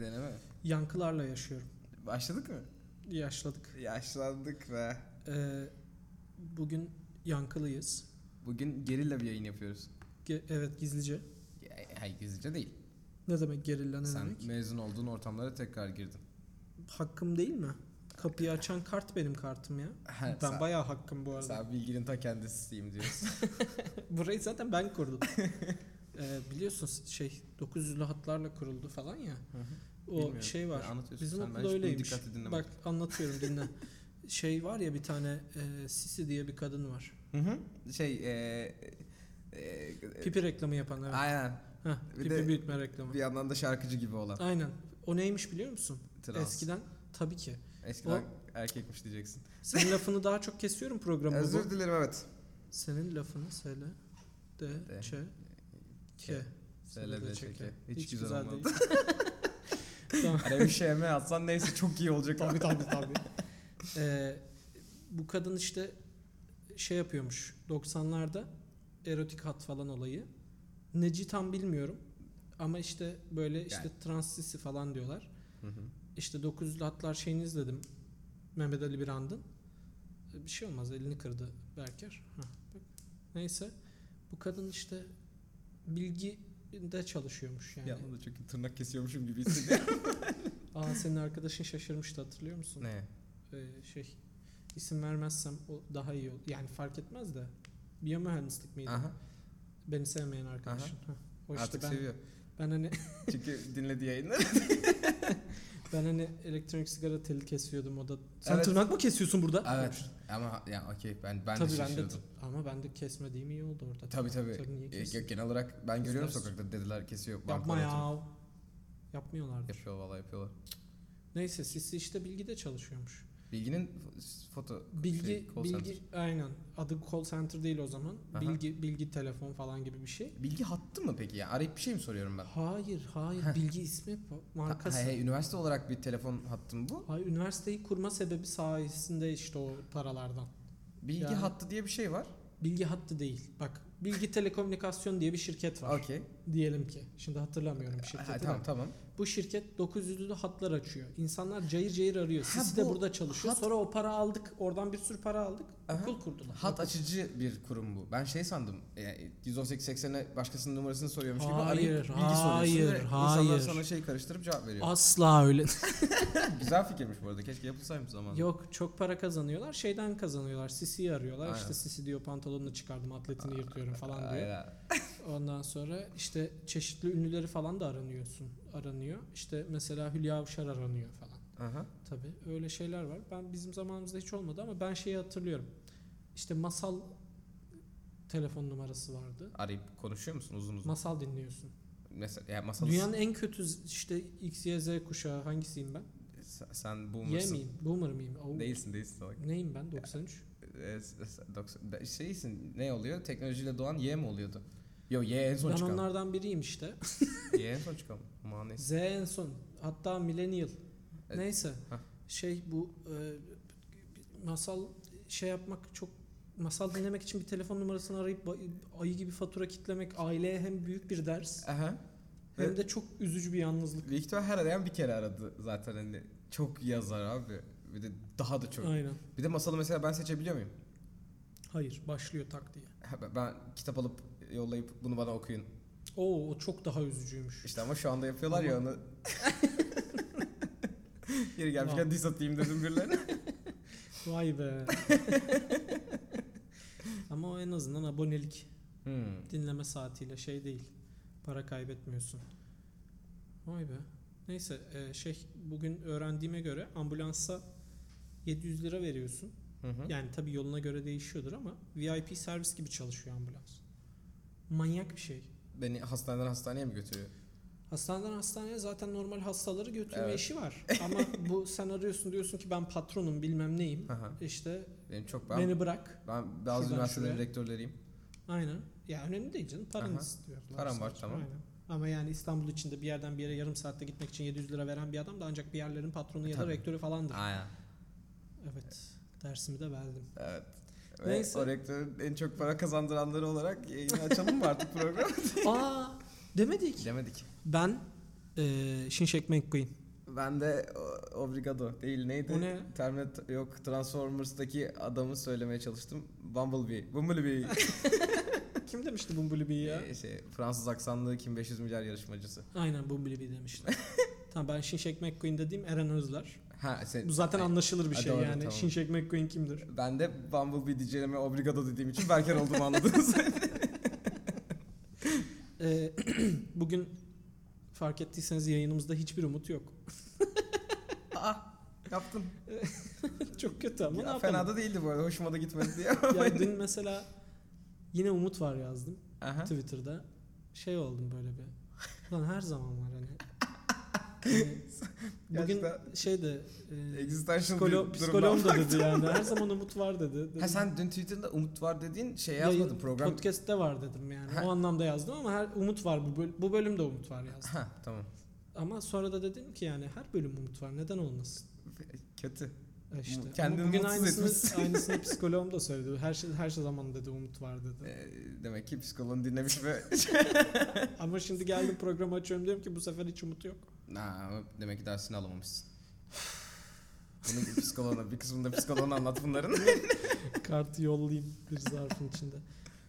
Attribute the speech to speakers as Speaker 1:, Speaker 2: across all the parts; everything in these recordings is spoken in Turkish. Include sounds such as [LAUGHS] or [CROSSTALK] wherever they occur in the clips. Speaker 1: Deneme.
Speaker 2: Yankılarla yaşıyorum.
Speaker 1: Başladık mı?
Speaker 2: Yaşladık.
Speaker 1: Yaşlandık ve
Speaker 2: Ee, bugün yankılıyız.
Speaker 1: bugün gerilla bir yayın yapıyoruz.
Speaker 2: Ge- evet gizlice.
Speaker 1: Hayır gizlice değil.
Speaker 2: Ne demek gerilla ne
Speaker 1: Sen
Speaker 2: demek?
Speaker 1: mezun olduğun ortamlara tekrar girdin.
Speaker 2: Hakkım değil mi? Kapıyı açan kart benim kartım ya.
Speaker 1: Ha,
Speaker 2: ben
Speaker 1: sen,
Speaker 2: bayağı hakkım bu arada.
Speaker 1: sen bilginin ta kendisiyim diyorsun.
Speaker 2: [LAUGHS] Burayı zaten ben
Speaker 1: [LAUGHS]
Speaker 2: kurdum. ee, biliyorsun şey 900'lü hatlarla kuruldu falan ya. O
Speaker 1: Bilmiyorum.
Speaker 2: şey var.
Speaker 1: Ya anlatıyorsun
Speaker 2: Bizim
Speaker 1: sen, ben hiç
Speaker 2: okulda
Speaker 1: bunu
Speaker 2: öyleymiş.
Speaker 1: dikkatli dinlemedim.
Speaker 2: Bak
Speaker 1: [LAUGHS]
Speaker 2: anlatıyorum dinle. şey var ya bir tane e, Sisi diye bir kadın var.
Speaker 1: Hı hı. Şey eee eee,
Speaker 2: Pipi reklamı yapan evet.
Speaker 1: Aynen.
Speaker 2: Heh,
Speaker 1: Bir
Speaker 2: pipi
Speaker 1: de-
Speaker 2: büyütme reklamı.
Speaker 1: Bir yandan da şarkıcı gibi olan.
Speaker 2: Aynen. O neymiş biliyor musun?
Speaker 1: Trans.
Speaker 2: Eskiden tabii ki.
Speaker 1: Eskiden erkekmiş diyeceksin.
Speaker 2: Senin lafını daha çok kesiyorum programda.
Speaker 1: Özür
Speaker 2: bu.
Speaker 1: dilerim
Speaker 2: [LAUGHS]
Speaker 1: evet.
Speaker 2: Senin lafını söyle. De,
Speaker 1: De.
Speaker 2: çe,
Speaker 1: Ke.
Speaker 2: ke.
Speaker 1: Söyle de çeke. Hiç, güzel, olmadı.
Speaker 2: değil.
Speaker 1: [LAUGHS] Hani bir şey mi atsan neyse çok iyi olacak.
Speaker 2: tabii tabii tabii. Ee, bu kadın işte şey yapıyormuş 90'larda erotik hat falan olayı. Neci tam bilmiyorum. Ama işte böyle işte
Speaker 1: Yani.
Speaker 2: transisi falan diyorlar.
Speaker 1: Hı hı.
Speaker 2: İşte 900'lü hatlar şeyini izledim. Mehmet Ali Birand'ın. E, Bir şey olmaz elini kırdı Berker. Hah, bak. Neyse bu kadın işte bilgide çalışıyormuş yani.
Speaker 1: Yandan da çok iyi tırnak kesiyormuşum gibi hissediyorum.
Speaker 2: Aa senin arkadaşın şaşırmıştı hatırlıyor musun?
Speaker 1: ne?
Speaker 2: Ee, şey isim vermezsem o daha iyi olur. Yani fark etmez de. Biyomühendislik miydi?
Speaker 1: Aha.
Speaker 2: Beni sevmeyen arkadaşın. Hah, O işte
Speaker 1: Artık
Speaker 2: ben, [LAUGHS]
Speaker 1: seviyor.
Speaker 2: ben hani
Speaker 1: Çünkü dinledi yayınları.
Speaker 2: ben hani elektronik sigara teli kesiyordum o da. Sen
Speaker 1: Evet.
Speaker 2: tırnak mı kesiyorsun burada?
Speaker 1: [LAUGHS] evet. Ama ya okey ben ben de
Speaker 2: tabii ben de
Speaker 1: şaşırdım.
Speaker 2: ama ben de kesmediğim iyi oldu orada.
Speaker 1: Tabii tabii.
Speaker 2: Tabii, niye
Speaker 1: E,
Speaker 2: kesin?
Speaker 1: genel olarak ben görüyorum
Speaker 2: Kesin.
Speaker 1: sokakta dediler kesiyor.
Speaker 2: Yapma
Speaker 1: banklar atıyor.
Speaker 2: ya. Yapmıyorlardı.
Speaker 1: Yapıyor vallahi yapıyorlar.
Speaker 2: Neyse Sisi işte bilgide çalışıyormuş.
Speaker 1: Bilginin f- foto
Speaker 2: Bilgi
Speaker 1: şey, call
Speaker 2: bilgi
Speaker 1: center.
Speaker 2: aynen. Adı call center değil o zaman.
Speaker 1: Aha.
Speaker 2: Bilgi bilgi telefon falan gibi bir şey.
Speaker 1: Bilgi hattı mı peki ya? Arayıp bir şey mi soruyorum ben?
Speaker 2: Hayır, hayır.
Speaker 1: Heh.
Speaker 2: bilgi ismi bu, markası.
Speaker 1: Ha-
Speaker 2: Hayır,
Speaker 1: he, üniversite olarak bir telefon hattım bu.
Speaker 2: üniversiteyi kurma sebebi sayesinde işte o paralardan.
Speaker 1: Bilgi
Speaker 2: Yani-
Speaker 1: hattı diye bir şey var.
Speaker 2: Bilgi hattı değil. Bak, Bilgi Telekomünikasyon diye bir şirket var. şey
Speaker 1: Okey.
Speaker 2: Diyelim ki. Şimdi hatırlamıyorum
Speaker 1: Ha,
Speaker 2: şirketi.
Speaker 1: Tamam
Speaker 2: de.
Speaker 1: tamam.
Speaker 2: Bu şirket 900'lü hatlar açıyor. İnsanlar cayır cayır arıyor.
Speaker 1: Ha,
Speaker 2: Siz de
Speaker 1: bu
Speaker 2: burada çalışıyor.
Speaker 1: hat-
Speaker 2: Sonra o para aldık. Oradan bir sürü para aldık.
Speaker 1: Aha.
Speaker 2: Okul kurdular.
Speaker 1: Hat
Speaker 2: Okul.
Speaker 1: açıcı bir kurum bu. Ben şey sandım. Yani 118-80'e e başkasının numarasını soruyormuş gibi
Speaker 2: Hayır,
Speaker 1: arayıp bilgi
Speaker 2: hayır,
Speaker 1: soruyorsun. ve İnsanlar
Speaker 2: hayır.
Speaker 1: sana şey karıştırıp cevap veriyor.
Speaker 2: Asla öyle.
Speaker 1: Güzel fikirmiş bu arada. Keşke yapılsaymış zamanında.
Speaker 2: [LAUGHS] Yok çok para kazanıyorlar. Şeyden kazanıyorlar. Sisi'yi arıyorlar.
Speaker 1: Aynen.
Speaker 2: İşte Sisi diyor pantolonunu çıkardım atletini yırtıyorum falan diyor.
Speaker 1: Aynen.
Speaker 2: Ondan sonra işte çeşitli ünlüleri falan da aranıyorsun. Aranıyor. İşte mesela Hülya Avşar aranıyor falan.
Speaker 1: Aha.
Speaker 2: Tabii öyle şeyler var. Ben bizim zamanımızda hiç olmadı ama ben şeyi hatırlıyorum. İşte masal telefon numarası vardı.
Speaker 1: Arayıp konuşuyor musun uzun uzun?
Speaker 2: Masal dinliyorsun.
Speaker 1: Mesela yani masal
Speaker 2: Dünyanın en kötü z- işte X, Y, Z kuşağı hangisiyim ben?
Speaker 1: Sen- sen
Speaker 2: Y
Speaker 1: boomersın.
Speaker 2: miyim? Boomer mıyım? Oo.
Speaker 1: Değilsin değilsin salak.
Speaker 2: Neyim ben? 93.
Speaker 1: Ee, s- s- doksan- be- şeysin ne oluyor? Teknolojiyle doğan Y mi oluyordu? Yo Y en son
Speaker 2: ben
Speaker 1: çıkan.
Speaker 2: onlardan biriyim işte.
Speaker 1: Y en son çıkan. Aman neyse.
Speaker 2: Z en son. Hatta millennial.
Speaker 1: Evet.
Speaker 2: Neyse.
Speaker 1: Hah.
Speaker 2: Şey bu e, masal şey yapmak çok masal dinlemek için bir telefon numarasını arayıp ba- ayı gibi fatura kitlemek aileye hem büyük bir ders
Speaker 1: Aha.
Speaker 2: hem
Speaker 1: Evet.
Speaker 2: de çok üzücü bir yalnızlık.
Speaker 1: Büyük ihtimal her arayan bir kere aradı zaten hani. Çok yazar abi. Bir de daha da çok.
Speaker 2: Aynen.
Speaker 1: Bir de masalı mesela ben seçebiliyor muyum?
Speaker 2: Hayır, başlıyor tak diye.
Speaker 1: Ha, ben- Ben kitap alıp yollayıp bunu bana okuyun.
Speaker 2: Oo, o çok daha üzücüymüş.
Speaker 1: İşte ama şu anda yapıyorlar ya [LAUGHS] onu. Geri
Speaker 2: Tamam.
Speaker 1: gelmişken diss atayım dedim birilerine.
Speaker 2: Vay be. Ama o en azından abonelik
Speaker 1: [LAUGHS] Hmm.
Speaker 2: dinleme saatiyle şey değil. Para kaybetmiyorsun. Vay be. Neyse e, şey bugün öğrendiğime göre ambulansa 700 lira veriyorsun.
Speaker 1: Hı hı.
Speaker 2: Yani tabii yoluna göre değişiyordur ama VIP servis gibi çalışıyor ambulans. Manyak bir şey.
Speaker 1: Beni hastaneden hastaneye mi götürüyor?
Speaker 2: Hastaneden hastaneye zaten normal hastaları götürme
Speaker 1: Evet. [LAUGHS]
Speaker 2: işi var. Ama bu sen arıyorsun diyorsun ki ben patronum bilmem neyim.
Speaker 1: Aha.
Speaker 2: İşte
Speaker 1: Benim çok ben
Speaker 2: beni bırak.
Speaker 1: ben bazı
Speaker 2: Şuradan
Speaker 1: üniversitelerin
Speaker 2: şuraya.
Speaker 1: rektörleriyim.
Speaker 2: Aynen. Ya önemli değil canım.
Speaker 1: Aha.
Speaker 2: Paranı istiyorlar.
Speaker 1: Param var,
Speaker 2: sadece.
Speaker 1: tamam.
Speaker 2: Aynen. Ama yani İstanbul içinde bir yerden bir yere yarım saatte gitmek için 700 lira veren bir adam da ancak bir yerlerin patronu ya da
Speaker 1: Tabii.
Speaker 2: rektörü falandır.
Speaker 1: Aynen.
Speaker 2: Evet. Dersimi de [LAUGHS] verdim.
Speaker 1: Evet.
Speaker 2: Neyse.
Speaker 1: Ve o rektörün en çok para kazandıranları [LAUGHS] olarak yayını açalım mı artık programı?
Speaker 2: Aa demedik.
Speaker 1: Demedik.
Speaker 2: Ben Ee, Şimşek McQueen.
Speaker 1: Ben de o- Obrigado değil neydi?
Speaker 2: O ne?
Speaker 1: Terminator- yok Transformers'daki adamı söylemeye çalıştım. Bumblebee. [LAUGHS] Bumblebee.
Speaker 2: [LAUGHS] Kim demişti Bumblebee'yi ya?
Speaker 1: Ee, şey, Fransız aksanlı kim 500 milyar yarışmacısı.
Speaker 2: E. Aynen Bumblebee
Speaker 1: [LAUGHS]
Speaker 2: demişti. tamam ben Şimşek McQueen dediğim Eren Özler.
Speaker 1: Ha sen,
Speaker 2: Bu zaten anlaşılır bir
Speaker 1: Ha,
Speaker 2: şey
Speaker 1: E, doğru,
Speaker 2: yani.
Speaker 1: tamam.
Speaker 2: Şimşek McQueen kimdir?
Speaker 1: ben de Bumblebee diyeceğime Obrigado dediğim için Berker olduğumu
Speaker 2: [LAUGHS]
Speaker 1: anladınız.
Speaker 2: Ee, [CLEARS THROAT] bugün fark ettiyseniz yayınımızda hiçbir umut yok. [LAUGHS]
Speaker 1: Aa yaptın.
Speaker 2: Çok kötü ama ne
Speaker 1: Ya,
Speaker 2: yapalım.
Speaker 1: fena da değildi bu arada. Hoşuma da gitmedi diye.
Speaker 2: [LAUGHS]
Speaker 1: [LAUGHS]
Speaker 2: ya dün mesela yine umut var yazdım
Speaker 1: Aha.
Speaker 2: Twitter'da. Şey oldum böyle bir. Lan her zaman var hani. Hani bugün
Speaker 1: [LAUGHS] Gerçekten
Speaker 2: şey de e,
Speaker 1: Existential bir
Speaker 2: psikolo-
Speaker 1: durumdan
Speaker 2: psikoloğum da dedi yani. Her zaman umut var dedi.
Speaker 1: [LAUGHS]
Speaker 2: Dedim,
Speaker 1: Ha sen dün Twitter'da umut var dediğin şey
Speaker 2: yayın-
Speaker 1: yazmadın program.
Speaker 2: Podcast'te var dedim yani.
Speaker 1: Ha.
Speaker 2: O anlamda yazdım ama her umut var bu, böl- bu bölümde umut var yazdım.
Speaker 1: Ha tamam. [LAUGHS]
Speaker 2: Ama sonra da dedim ki yani her bölüm umut var neden olmasın?
Speaker 1: Kötü.
Speaker 2: E İşte. Ama
Speaker 1: Kendini
Speaker 2: bugün
Speaker 1: mutsuz etmişsin.
Speaker 2: aynısını,
Speaker 1: [LAUGHS]
Speaker 2: aynısını psikoloğum da söyledi. Her şey her şey zaman dedi umut var dedi.
Speaker 1: Ee, demek ki psikoloğunu dinlemiş ve [LAUGHS]
Speaker 2: Ama şimdi geldim programı açıyorum diyorum ki bu sefer hiç umut yok.
Speaker 1: Na, demek ki dersini alamamışsın. Bunu bir psikoloğuna, bir kısmında psikoloğuna anlat
Speaker 2: [LAUGHS]
Speaker 1: bunların.
Speaker 2: Kartı yollayayım bir zarfın içinde.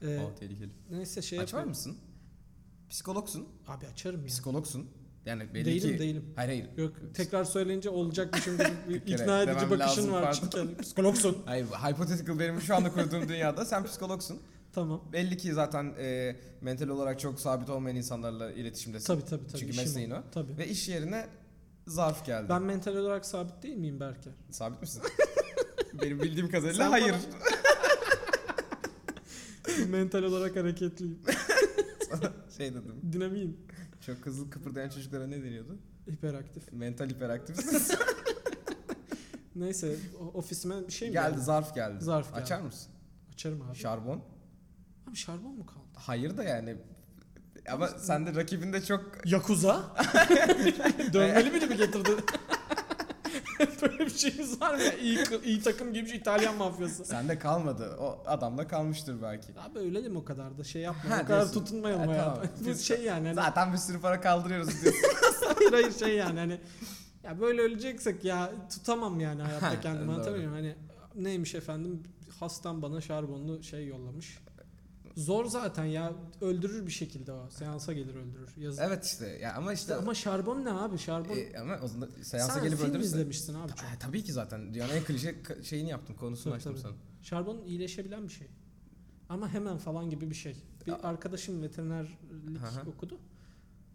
Speaker 2: E,
Speaker 1: o tehlikeli.
Speaker 2: neyse şey
Speaker 1: Açar
Speaker 2: yapıyorum.
Speaker 1: mısın? Psikologsun.
Speaker 2: Abi açarım ya.
Speaker 1: Psikologsun. Yani belli
Speaker 2: değilim
Speaker 1: ki...
Speaker 2: değilim.
Speaker 1: Hayır hayır.
Speaker 2: Yok tekrar söyleyince
Speaker 1: [LAUGHS]
Speaker 2: olacakmışım gibi bir
Speaker 1: Bir kere
Speaker 2: ikna edici
Speaker 1: demem
Speaker 2: bakışın
Speaker 1: lazım,
Speaker 2: var
Speaker 1: pardon. [LAUGHS]
Speaker 2: çünkü. hani Psikologsun.
Speaker 1: Hayır, hypothetical benim şu anda kurduğum dünyada sen psikologsun.
Speaker 2: Tamam.
Speaker 1: Belli ki zaten e, mental olarak çok sabit olmayan insanlarla iletişimdesin.
Speaker 2: Tabii tabii tabii.
Speaker 1: Çünkü
Speaker 2: işim
Speaker 1: mesleğin o.
Speaker 2: Tabii.
Speaker 1: Ve iş yerine zarf geldi.
Speaker 2: Ben mental olarak sabit değil miyim Berker?
Speaker 1: Sabit misin? [LAUGHS] benim bildiğim kadarıyla
Speaker 2: Sen
Speaker 1: hayır.
Speaker 2: [LAUGHS] mental olarak hareketliyim.
Speaker 1: şey dedim.
Speaker 2: Dinamiyim.
Speaker 1: Çok hızlı kıpırdayan çocuklara ne deniyordu?
Speaker 2: Hiperaktif.
Speaker 1: Mental hiperaktifsin.
Speaker 2: Neyse o- ofisime bir [LAUGHS] şey mi
Speaker 1: geldi zarf geldi.
Speaker 2: Zarf geldi.
Speaker 1: Açar mısın?
Speaker 2: Açarım abi.
Speaker 1: Şarbon.
Speaker 2: abi şarbon mu kaldı?
Speaker 1: Hayır da yani. Ama sen de rakibinde çok
Speaker 2: Yakuza? [LAUGHS] Dönmeli biri mi getirdi? [LAUGHS] Böyle bir şeyimiz var ya iyi, iyi takım gibi bir şey, İtalyan mafyası.
Speaker 1: sende kalmadı. O adamda kalmıştır belki.
Speaker 2: Abi öyle de mi o kadar da şey yapma.
Speaker 1: Ha,
Speaker 2: o kadar
Speaker 1: diyorsun.
Speaker 2: tutunmayalım
Speaker 1: Ha,
Speaker 2: ya.
Speaker 1: tamam.
Speaker 2: [LAUGHS] Bu şey yani. Hani,
Speaker 1: Zaten bir sürü para kaldırıyoruz diyorsun.
Speaker 2: hayır hayır şey yani hani. Ya böyle öleceksek ya tutamam yani hayatta
Speaker 1: Ha,
Speaker 2: kendimi
Speaker 1: doğru.
Speaker 2: anlatamıyorum. Hani neymiş efendim hastam bana şarbonlu şey yollamış. Zor zaten ya öldürür bir şekilde o. Seansa gelir öldürür. Yazık.
Speaker 1: evet işte. Ya ama işte.
Speaker 2: Ama şarbon ne abi? Şarbon.
Speaker 1: E, ama o zaman seansa
Speaker 2: Sen
Speaker 1: gelip
Speaker 2: film
Speaker 1: öldürürsen.
Speaker 2: izlemişsin abi çok.
Speaker 1: Ha, tabii ki zaten dünyanın en klişe ka- şeyini yaptım konusunu
Speaker 2: Tabii,
Speaker 1: açtım
Speaker 2: tabii.
Speaker 1: sana.
Speaker 2: Şarbon iyileşebilen bir şey. Ama hemen falan gibi bir şey. Bir
Speaker 1: Aa.
Speaker 2: arkadaşım veterinerlik
Speaker 1: Aha.
Speaker 2: okudu.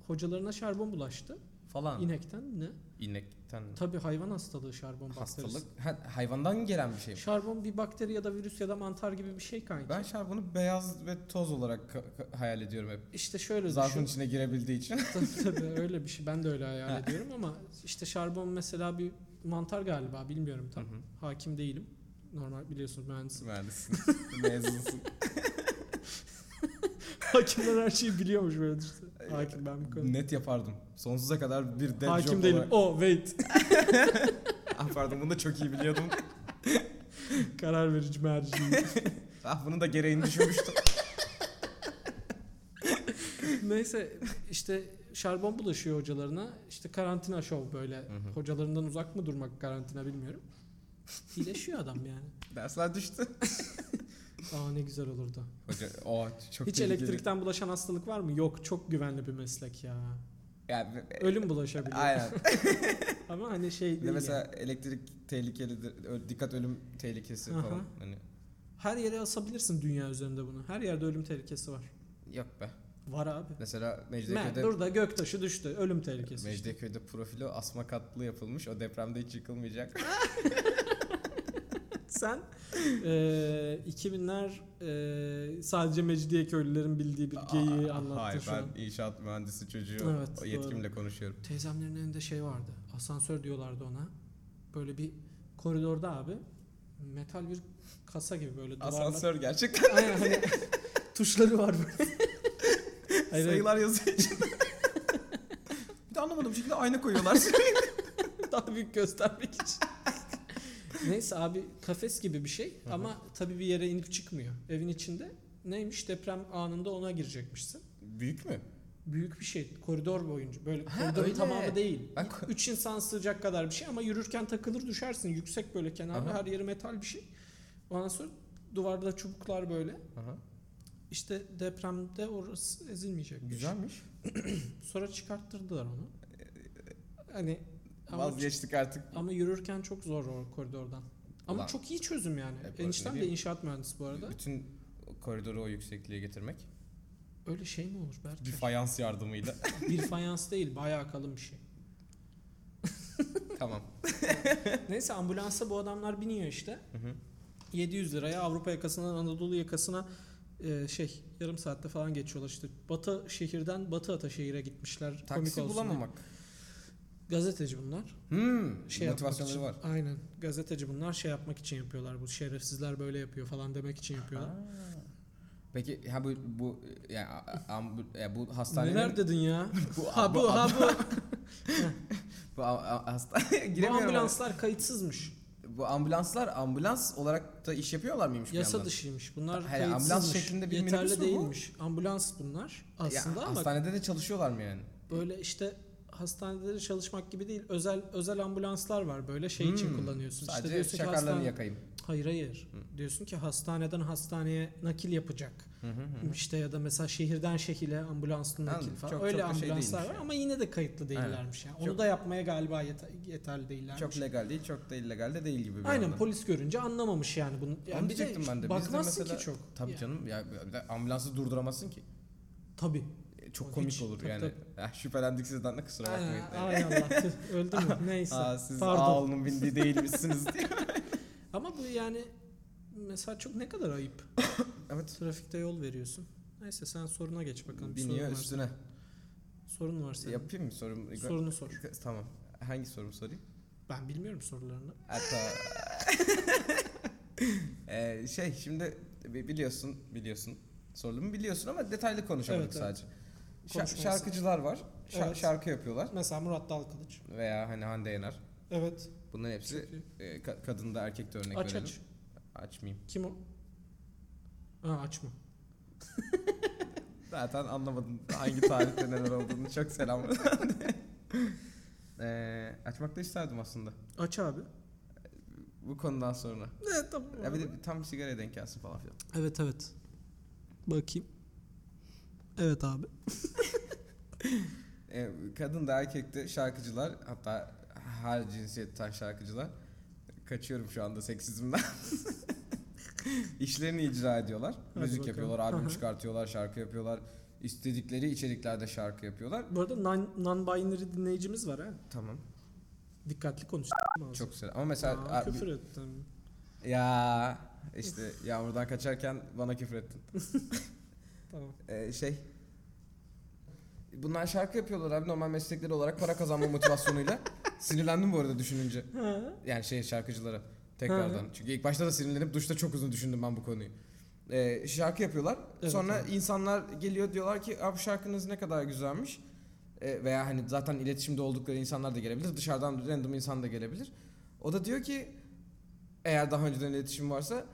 Speaker 2: Hocalarına şarbon bulaştı.
Speaker 1: Falan.
Speaker 2: İnekten ne?
Speaker 1: İnekten
Speaker 2: Tabii hayvan hastalığı şarbon bakterisi.
Speaker 1: hastalık. Ha, hayvandan gelen bir şey mi?
Speaker 2: Şarbon bir bakteri ya da virüs ya da mantar gibi bir şey kanki.
Speaker 1: Ben şarbonu beyaz ve toz olarak ka- ka- hayal ediyorum hep.
Speaker 2: İşte şöyle
Speaker 1: Zarfın
Speaker 2: düşün.
Speaker 1: içine girebildiği için.
Speaker 2: [LAUGHS] tabii tabii öyle bir şey. Ben de öyle hayal ediyorum ama işte şarbon mesela bir mantar galiba bilmiyorum tam.
Speaker 1: [LAUGHS] Hı hı.
Speaker 2: Hakim değilim. Normal biliyorsunuz mühendisim.
Speaker 1: Mühendisin. [LAUGHS] Mezunsun.
Speaker 2: [LAUGHS] Hakimler her şeyi biliyormuş böyle düşünsene. Hakim ben bu konuda.
Speaker 1: Net yapardım. Sonsuza kadar bir dead
Speaker 2: Hakim
Speaker 1: joke
Speaker 2: değilim.
Speaker 1: olarak.
Speaker 2: O wait. [LAUGHS]
Speaker 1: Ah pardon bunu da çok iyi biliyordum.
Speaker 2: Karar verici merci.
Speaker 1: ah bunun da gereğini
Speaker 2: [LAUGHS]
Speaker 1: düşünmüştüm.
Speaker 2: Neyse işte şarbon bulaşıyor hocalarına. İşte karantina şov böyle.
Speaker 1: hı.
Speaker 2: Hocalarından uzak mı durmak karantina bilmiyorum. İyileşiyor adam yani.
Speaker 1: Dersler düştü.
Speaker 2: Aa ne güzel olurdu.
Speaker 1: Hoca, o çok
Speaker 2: Hiç
Speaker 1: tehlikeli.
Speaker 2: elektrikten bulaşan hastalık var mı? Yok çok güvenli bir meslek ya.
Speaker 1: Yani,
Speaker 2: Ölüm bulaşabiliyor.
Speaker 1: e, Aynen.
Speaker 2: [LAUGHS] Ama hani şey
Speaker 1: Bir
Speaker 2: değil
Speaker 1: de
Speaker 2: yani.
Speaker 1: mesela elektrik tehlikelidir. ö- Dikkat ölüm tehlikesi
Speaker 2: Aha.
Speaker 1: falan. Hani
Speaker 2: Her yere asabilirsin dünya üzerinde bunu. Her yerde ölüm tehlikesi var.
Speaker 1: yok be.
Speaker 2: Var abi.
Speaker 1: Mesela
Speaker 2: Mert
Speaker 1: Mecidiyeköy'de
Speaker 2: dur da göktaşı düştü. Ölüm tehlikesi. işte.
Speaker 1: Mecidiyeköy'de profilo asma katlı yapılmış. O depremde hiç yıkılmayacak.
Speaker 2: Sen eee 2000'ler eee, e, sadece Mecidiye köylülerin bildiği [LAUGHS] bir geyiği
Speaker 1: Aa,
Speaker 2: anlattın
Speaker 1: Hayır
Speaker 2: şu an.
Speaker 1: ben inşaat mühendisi çocuğu
Speaker 2: Evet,
Speaker 1: o yetkimle konuşuyorum.
Speaker 2: Teyzemlerin evinde şey vardı. Asansör diyorlardı ona. Böyle bir koridorda abi. Metal bir kasa gibi böyle duvarlar.
Speaker 1: Asansör gerçekten
Speaker 2: Aynen hani [LAUGHS] tuşları var
Speaker 1: [LAUGHS]
Speaker 2: böyle. Hayır, [LAUGHS] hayır.
Speaker 1: sayılar yazıyor içinde. bir de anlamadım bir şekilde ayna
Speaker 2: [LAUGHS]
Speaker 1: koyuyorlar.
Speaker 2: Daha büyük göstermek için. Neyse abi kafes gibi bir şey
Speaker 1: Hı hı.
Speaker 2: ama tabii bir yere inip çıkmıyor. Evin içinde neymiş deprem anında ona girecekmişsin.
Speaker 1: Büyük mü?
Speaker 2: büyük bir şey. Koridor boyunca. Böyle
Speaker 1: Ha,
Speaker 2: koridorun
Speaker 1: öyle.
Speaker 2: tamamı değil.
Speaker 1: Ben ko-
Speaker 2: Üç insan sığacak kadar bir şey ama yürürken takılır düşersin. Yüksek böyle kenarda
Speaker 1: Aha.
Speaker 2: her yeri metal bir şey. Ondan sonra duvarda çubuklar böyle.
Speaker 1: Aha.
Speaker 2: İşte depremde orası ezilmeyecek.
Speaker 1: Güzelmiş.
Speaker 2: Sonra çıkarttırdılar onu. Hani ama,
Speaker 1: Vazgeçtik artık.
Speaker 2: ama yürürken çok zor o koridordan. Ama
Speaker 1: Ulan.
Speaker 2: çok iyi çözüm yani.
Speaker 1: E, bu-
Speaker 2: Eniştem
Speaker 1: ne
Speaker 2: de
Speaker 1: diyeyim?
Speaker 2: inşaat mühendisi bu arada.
Speaker 1: Bütün koridoru o yüksekliğe getirmek.
Speaker 2: Öyle şey mi olur
Speaker 1: [LAUGHS]
Speaker 2: Berk?
Speaker 1: Bir fayans
Speaker 2: [LAUGHS]
Speaker 1: yardımıyla.
Speaker 2: Bir fayans değil bayağı kalın bir şey.
Speaker 1: tamam.
Speaker 2: Neyse ambulansa bu adamlar biniyor işte.
Speaker 1: Hı hı.
Speaker 2: 700 liraya Avrupa yakasından Anadolu yakasına e, şey yarım saatte falan geçiyorlar işte. Batı şehirden Batı Ataşehir'e gitmişler. komik
Speaker 1: Taksi
Speaker 2: olsun diye.
Speaker 1: bulamamak.
Speaker 2: Gazeteci bunlar.
Speaker 1: Hmm.
Speaker 2: Şey
Speaker 1: motivasyonları var.
Speaker 2: yapmak için, Aynen. Gazeteci bunlar şey yapmak için yapıyorlar. Bu şerefsizler böyle yapıyor falan demek için yapıyorlar.
Speaker 1: Ha. Peki ha bu bu yani a- ambu- ya bu hastanenin
Speaker 2: Neler dedin ya?
Speaker 1: [LAUGHS] bu,
Speaker 2: ha bu ha [LAUGHS] bu.
Speaker 1: bu a- a- hasta [LAUGHS]
Speaker 2: bu
Speaker 1: giremiyorum.
Speaker 2: ambulanslar kayıtsızmış.
Speaker 1: Bu ambulanslar ambulans olarak da iş yapıyorlar mıymış bir
Speaker 2: Yasa
Speaker 1: yandan?
Speaker 2: dışıymış. Bunlar
Speaker 1: Ha, yani
Speaker 2: kayıtsızmış.
Speaker 1: ambulans şeklinde bir minibüs
Speaker 2: Yeterli
Speaker 1: mü bu?
Speaker 2: değilmiş. Ambulans bunlar aslında
Speaker 1: ya,
Speaker 2: ama
Speaker 1: hastanede de çalışıyorlar mı yani?
Speaker 2: böyle işte hastanede de çalışmak gibi değil. Özel özel ambulanslar var böyle şey için
Speaker 1: Hmm.
Speaker 2: kullanıyorsun.
Speaker 1: Sadece
Speaker 2: işte diyorsun ki
Speaker 1: şakarlarını Hmm.
Speaker 2: hastane...
Speaker 1: yakayım.
Speaker 2: Hayır hayır. Diyorsun ki hastaneden hastaneye nakil yapacak.
Speaker 1: Hı hı hı.
Speaker 2: İşte ya da mesela şehirden şehire ambulanslı nakil
Speaker 1: Hmm. Anladım.
Speaker 2: falan.
Speaker 1: Çok-
Speaker 2: Öyle
Speaker 1: çok da şey
Speaker 2: ambulanslar
Speaker 1: değilmiş
Speaker 2: var
Speaker 1: yani.
Speaker 2: ama yine de kayıtlı değillermiş. Yani. Onu
Speaker 1: Çok-
Speaker 2: da yapmaya galiba yete- yeterli değillermiş.
Speaker 1: Çok legal değil, çok da illegal de değil gibi bir
Speaker 2: Aynen
Speaker 1: yandan.
Speaker 2: polis görünce anlamamış yani bunu. Yani bir de,
Speaker 1: diyecektim ben de. Biz de
Speaker 2: bakmazsın
Speaker 1: mesela-
Speaker 2: ki çok.
Speaker 1: Tabii
Speaker 2: Yani.
Speaker 1: canım ya bir de ambulansı durduramazsın ki.
Speaker 2: Tabii.
Speaker 1: E, Çok
Speaker 2: O
Speaker 1: komik
Speaker 2: hiç-
Speaker 1: olur
Speaker 2: tabii,
Speaker 1: yani. Ya, şüphelendik sizden de kusura bakmayın.
Speaker 2: Aa, Ay Allah tüh,
Speaker 1: [LAUGHS]
Speaker 2: öldü mü? Neyse.
Speaker 1: Aa, siz
Speaker 2: Pardon.
Speaker 1: ağalının bindiği
Speaker 2: [LAUGHS]
Speaker 1: değilmişsiniz diye.
Speaker 2: Ama bu yani mesela çok ne kadar ayıp.
Speaker 1: evet.
Speaker 2: Trafikte yol veriyorsun. Neyse sen soruna geç bakalım. Bir
Speaker 1: Biniyor
Speaker 2: sorun varsa.
Speaker 1: üstüne.
Speaker 2: Sorun var senin.
Speaker 1: Şey Yapayım mı sorumu?
Speaker 2: Sorunu sor.
Speaker 1: Tamam. Hangi sorumu sorayım?
Speaker 2: Ben bilmiyorum sorularını.
Speaker 1: Hatta
Speaker 2: [LAUGHS]
Speaker 1: Ee, şey şimdi bi- biliyorsun biliyorsun sorumu biliyorsun ama detaylı konuşamadık
Speaker 2: Evet, evet.
Speaker 1: sadece. Şa-
Speaker 2: Konuşmamız-
Speaker 1: şarkıcılar var. Şa-
Speaker 2: Evet.
Speaker 1: Şarkı yapıyorlar
Speaker 2: Mesela Murat Dalkılıç.
Speaker 1: veya hani Hande Yener.
Speaker 2: Evet.
Speaker 1: Bunların hepsi
Speaker 2: Çok iyi.
Speaker 1: e, ka- kadın da erkek de örnek
Speaker 2: Aç
Speaker 1: verelim.
Speaker 2: aç.
Speaker 1: Açmayayım.
Speaker 2: Kim o? Ha açma.
Speaker 1: Zaten anlamadım hangi tarihte neler olduğunu. Çok selam. [LAUGHS] Ee, açmak da isterdim aslında.
Speaker 2: Aç abi.
Speaker 1: Bu konudan sonra.
Speaker 2: Evet tamam.
Speaker 1: Ya bir de tam sigaraya denk gelsin falan filan.
Speaker 2: Evet evet. Bakayım. Evet abi.
Speaker 1: E, kadın da erkek de şarkıcılar hatta her cinsiyetten şarkıcılar kaçıyorum şu anda seksizmden. [LAUGHS] İşlerini icra ediyorlar.
Speaker 2: Hadi
Speaker 1: Müzik
Speaker 2: bakalım.
Speaker 1: yapıyorlar,
Speaker 2: Hı
Speaker 1: albüm
Speaker 2: hı.
Speaker 1: çıkartıyorlar, şarkı yapıyorlar. İstedikleri içeriklerde şarkı yapıyorlar.
Speaker 2: Bu arada non- non-binary dinleyicimiz var ha.
Speaker 1: Tamam.
Speaker 2: Dikkatli konuş.
Speaker 1: Çok güzel. Ama mesela
Speaker 2: Aa,
Speaker 1: abi-
Speaker 2: küfür ettim.
Speaker 1: ya işte yağmurdan kaçarken bana küfür ettin.
Speaker 2: Tamam.
Speaker 1: Ee, şey Bunlar şarkı yapıyorlar abi normal meslekleri olarak para kazanma
Speaker 2: [LAUGHS]
Speaker 1: motivasyonuyla. Sinirlendim bu arada düşününce.
Speaker 2: Ha.
Speaker 1: Yani şey şarkıcılara tekrardan.
Speaker 2: Hı.
Speaker 1: Çünkü ilk başta da sinirlenip duşta çok uzun düşündüm ben bu konuyu. Ee, şarkı yapıyorlar.
Speaker 2: Evet,
Speaker 1: Sonra
Speaker 2: evet.
Speaker 1: insanlar geliyor diyorlar ki abi şarkınız ne kadar güzelmiş. Ee, veya hani zaten iletişimde oldukları insanlar da gelebilir. Dışarıdan random insan da gelebilir. O da diyor ki eğer daha önceden iletişim varsa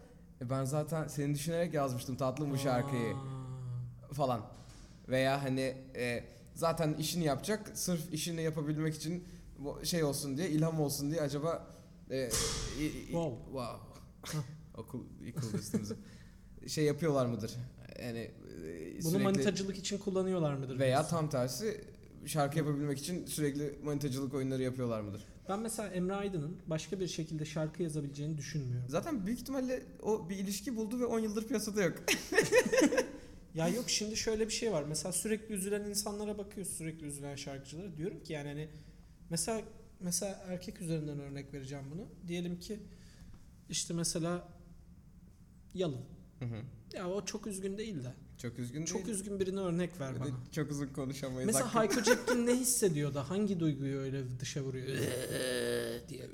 Speaker 1: "E, ben zaten seni düşünerek yazmıştım tatlım bu şarkıyı
Speaker 2: Aa.
Speaker 1: falan. Veya hani e, zaten işini yapacak sırf işini yapabilmek için bu- şey olsun diye ilham olsun diye acaba e, i- i-
Speaker 2: Wow.
Speaker 1: wow. [LAUGHS] okul yıkıldı üstümüze. şey yapıyorlar mıdır? Yani e,
Speaker 2: Bunu
Speaker 1: sürekli-
Speaker 2: manitacılık için kullanıyorlar mıdır?
Speaker 1: veya
Speaker 2: diyorsun?
Speaker 1: tam tersi şarkı yapabilmek için sürekli manitacılık oyunları yapıyorlar mıdır?
Speaker 2: Ben mesela Emre Aydın'ın başka bir şekilde şarkı yazabileceğini düşünmüyorum.
Speaker 1: Zaten büyük ihtimalle o bir ilişki buldu ve 10 yıldır piyasada yok.
Speaker 2: Ya yok şimdi şöyle bir şey var. Mesela sürekli üzülen insanlara bakıyoruz, sürekli üzülen şarkıcılara. Diyorum ki yani hani mesela mesela erkek üzerinden örnek vereceğim bunu. Diyelim ki işte mesela Yalın.
Speaker 1: Hı hı.
Speaker 2: Ya o çok üzgün değil de.
Speaker 1: çok üzgün
Speaker 2: Çok
Speaker 1: değil.
Speaker 2: üzgün birine örnek ver bana.
Speaker 1: Çok uzun konuşamayız.
Speaker 2: Mesela
Speaker 1: Hakkı-
Speaker 2: Hayko Cepkin ne hissediyor da hangi duyguyu öyle dışa vuruyor diye.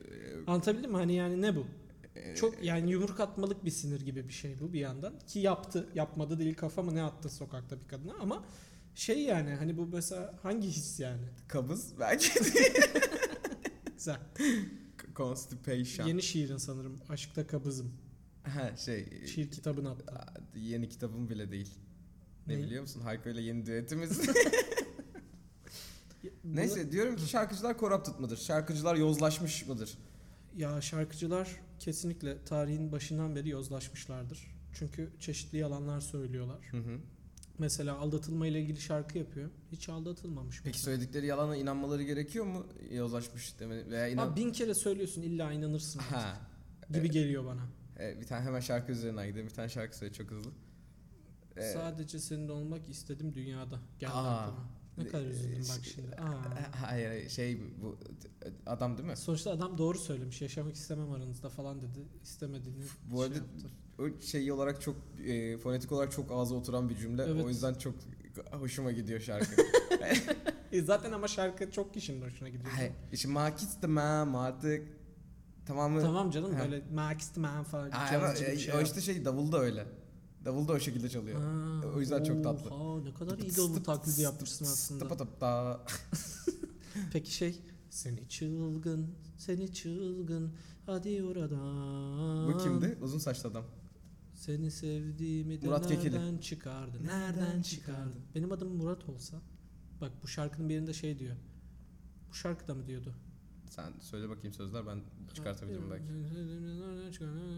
Speaker 2: Anlatabildim mi? Hani yani ne bu?
Speaker 1: Ee,
Speaker 2: Çok yani yumruk atmalık bir sinir gibi bir şey bu bir yandan. Ki yaptı. Yapmadı değil kafamı ne attı sokakta bir kadına ama şey yani hani bu mesela hangi his yani?
Speaker 1: kabız belki.
Speaker 2: [LAUGHS]
Speaker 1: [LAUGHS]
Speaker 2: Güzel.
Speaker 1: Constipation.
Speaker 2: Yeni şiirin sanırım. Aşkta kabızım.
Speaker 1: Ha şey.
Speaker 2: Şiir kitabın hatta.
Speaker 1: Yeni kitabım bile değil. Ne
Speaker 2: Neyi? [LAUGHS]
Speaker 1: biliyor musun? Hayko ile yeni düetimiz. [LAUGHS]
Speaker 2: Bunu-
Speaker 1: Neyse diyorum ki şarkıcılar corrupted mıdır? Şarkıcılar yozlaşmış mıdır?
Speaker 2: Ya şarkıcılar kesinlikle tarihin başından beri yozlaşmışlardır. Çünkü çeşitli yalanlar söylüyorlar.
Speaker 1: Hı hı.
Speaker 2: Mesela aldatılma ile ilgili şarkı yapıyor. Hiç aldatılmamış.
Speaker 1: Peki
Speaker 2: mesela.
Speaker 1: söyledikleri yalana inanmaları gerekiyor mu? Yozlaşmış demeni veya inan...
Speaker 2: Abi bin kere söylüyorsun illa inanırsın
Speaker 1: [LAUGHS] Ha.
Speaker 2: gibi geliyor bana.
Speaker 1: E, bir tane hemen şarkı üzerine gidelim. Bir tane şarkı söyle çok hızlı. E,
Speaker 2: Sadece senin olmak istedim dünyada. Geldi
Speaker 1: Aa.
Speaker 2: aklıma. Ne kadar üzüldüm bak
Speaker 1: Şey-
Speaker 2: şimdi. Aa.
Speaker 1: Hayır hayır, şey bu adam değil mi?
Speaker 2: Sonuçta adam doğru söylemiş. Yaşamak istemem aranızda falan dedi. İstemediğini
Speaker 1: Bu arada
Speaker 2: şey yaptı.
Speaker 1: O şey olarak çok e, fonetik olarak çok ağza oturan bir cümle.
Speaker 2: Evet.
Speaker 1: O yüzden çok hoşuma gidiyor şarkı.
Speaker 2: E zaten ama şarkı çok kişinin hoşuna gidiyor.
Speaker 1: Hayır, işte mak istemem artık tamamı.
Speaker 2: Tamam canım
Speaker 1: Ha.
Speaker 2: böyle Mark Stein falan.
Speaker 1: Ay, ama,
Speaker 2: çalıcı bir şey
Speaker 1: o
Speaker 2: yap.
Speaker 1: işte şey davul da öyle. Davul da o şekilde çalıyor.
Speaker 2: Ha,
Speaker 1: O yüzden çok tatlı.
Speaker 2: Oha ne kadar iyi de onu taklidi yapmışsın
Speaker 1: Tıpa
Speaker 2: aslında.
Speaker 1: tıp da.
Speaker 2: Peki şey seni çılgın, seni çılgın hadi oradan.
Speaker 1: Bu kimdi? Uzun saçlı adam.
Speaker 2: Seni sevdiğimi de
Speaker 1: Murat Kekili.
Speaker 2: nereden çıkardı? Nereden çıkardı? Benim adım Murat olsa. Bak bu şarkının birinde şey diyor. Bu şarkıda mı diyordu?
Speaker 1: Sen söyle bakayım sözler ben çıkartabilirim belki.
Speaker 2: [LAUGHS]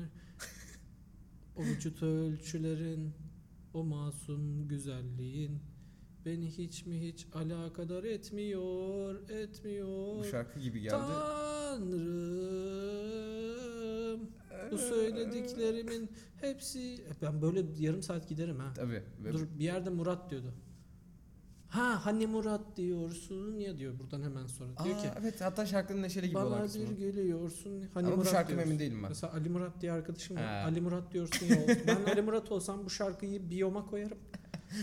Speaker 2: O vücut ölçülerin, o masum güzelliğin beni hiç mi hiç alakadar etmiyor, etmiyor.
Speaker 1: Bu şarkı gibi geldi.
Speaker 2: Tanrım, bu söylediklerimin hepsi... Ben böyle yarım saat giderim ha.
Speaker 1: Tabii. Ve-
Speaker 2: Dur bir yerde Murat diyordu. Ha hani Murat diyorsun ya diyor buradan hemen sonra.
Speaker 1: Aa,
Speaker 2: diyor ki
Speaker 1: evet hatta şarkının neşeli gibi olan
Speaker 2: bana
Speaker 1: kısmı.
Speaker 2: bir gülüyorsun. Hani
Speaker 1: Ama bu
Speaker 2: Murat
Speaker 1: şarkı
Speaker 2: diyorsun.
Speaker 1: emin değilim ben.
Speaker 2: Mesela Ali Murat diye arkadaşım var.
Speaker 1: Ha.
Speaker 2: Ali Murat diyorsun ya. ben Ali Murat olsam bu şarkıyı biyoma koyarım.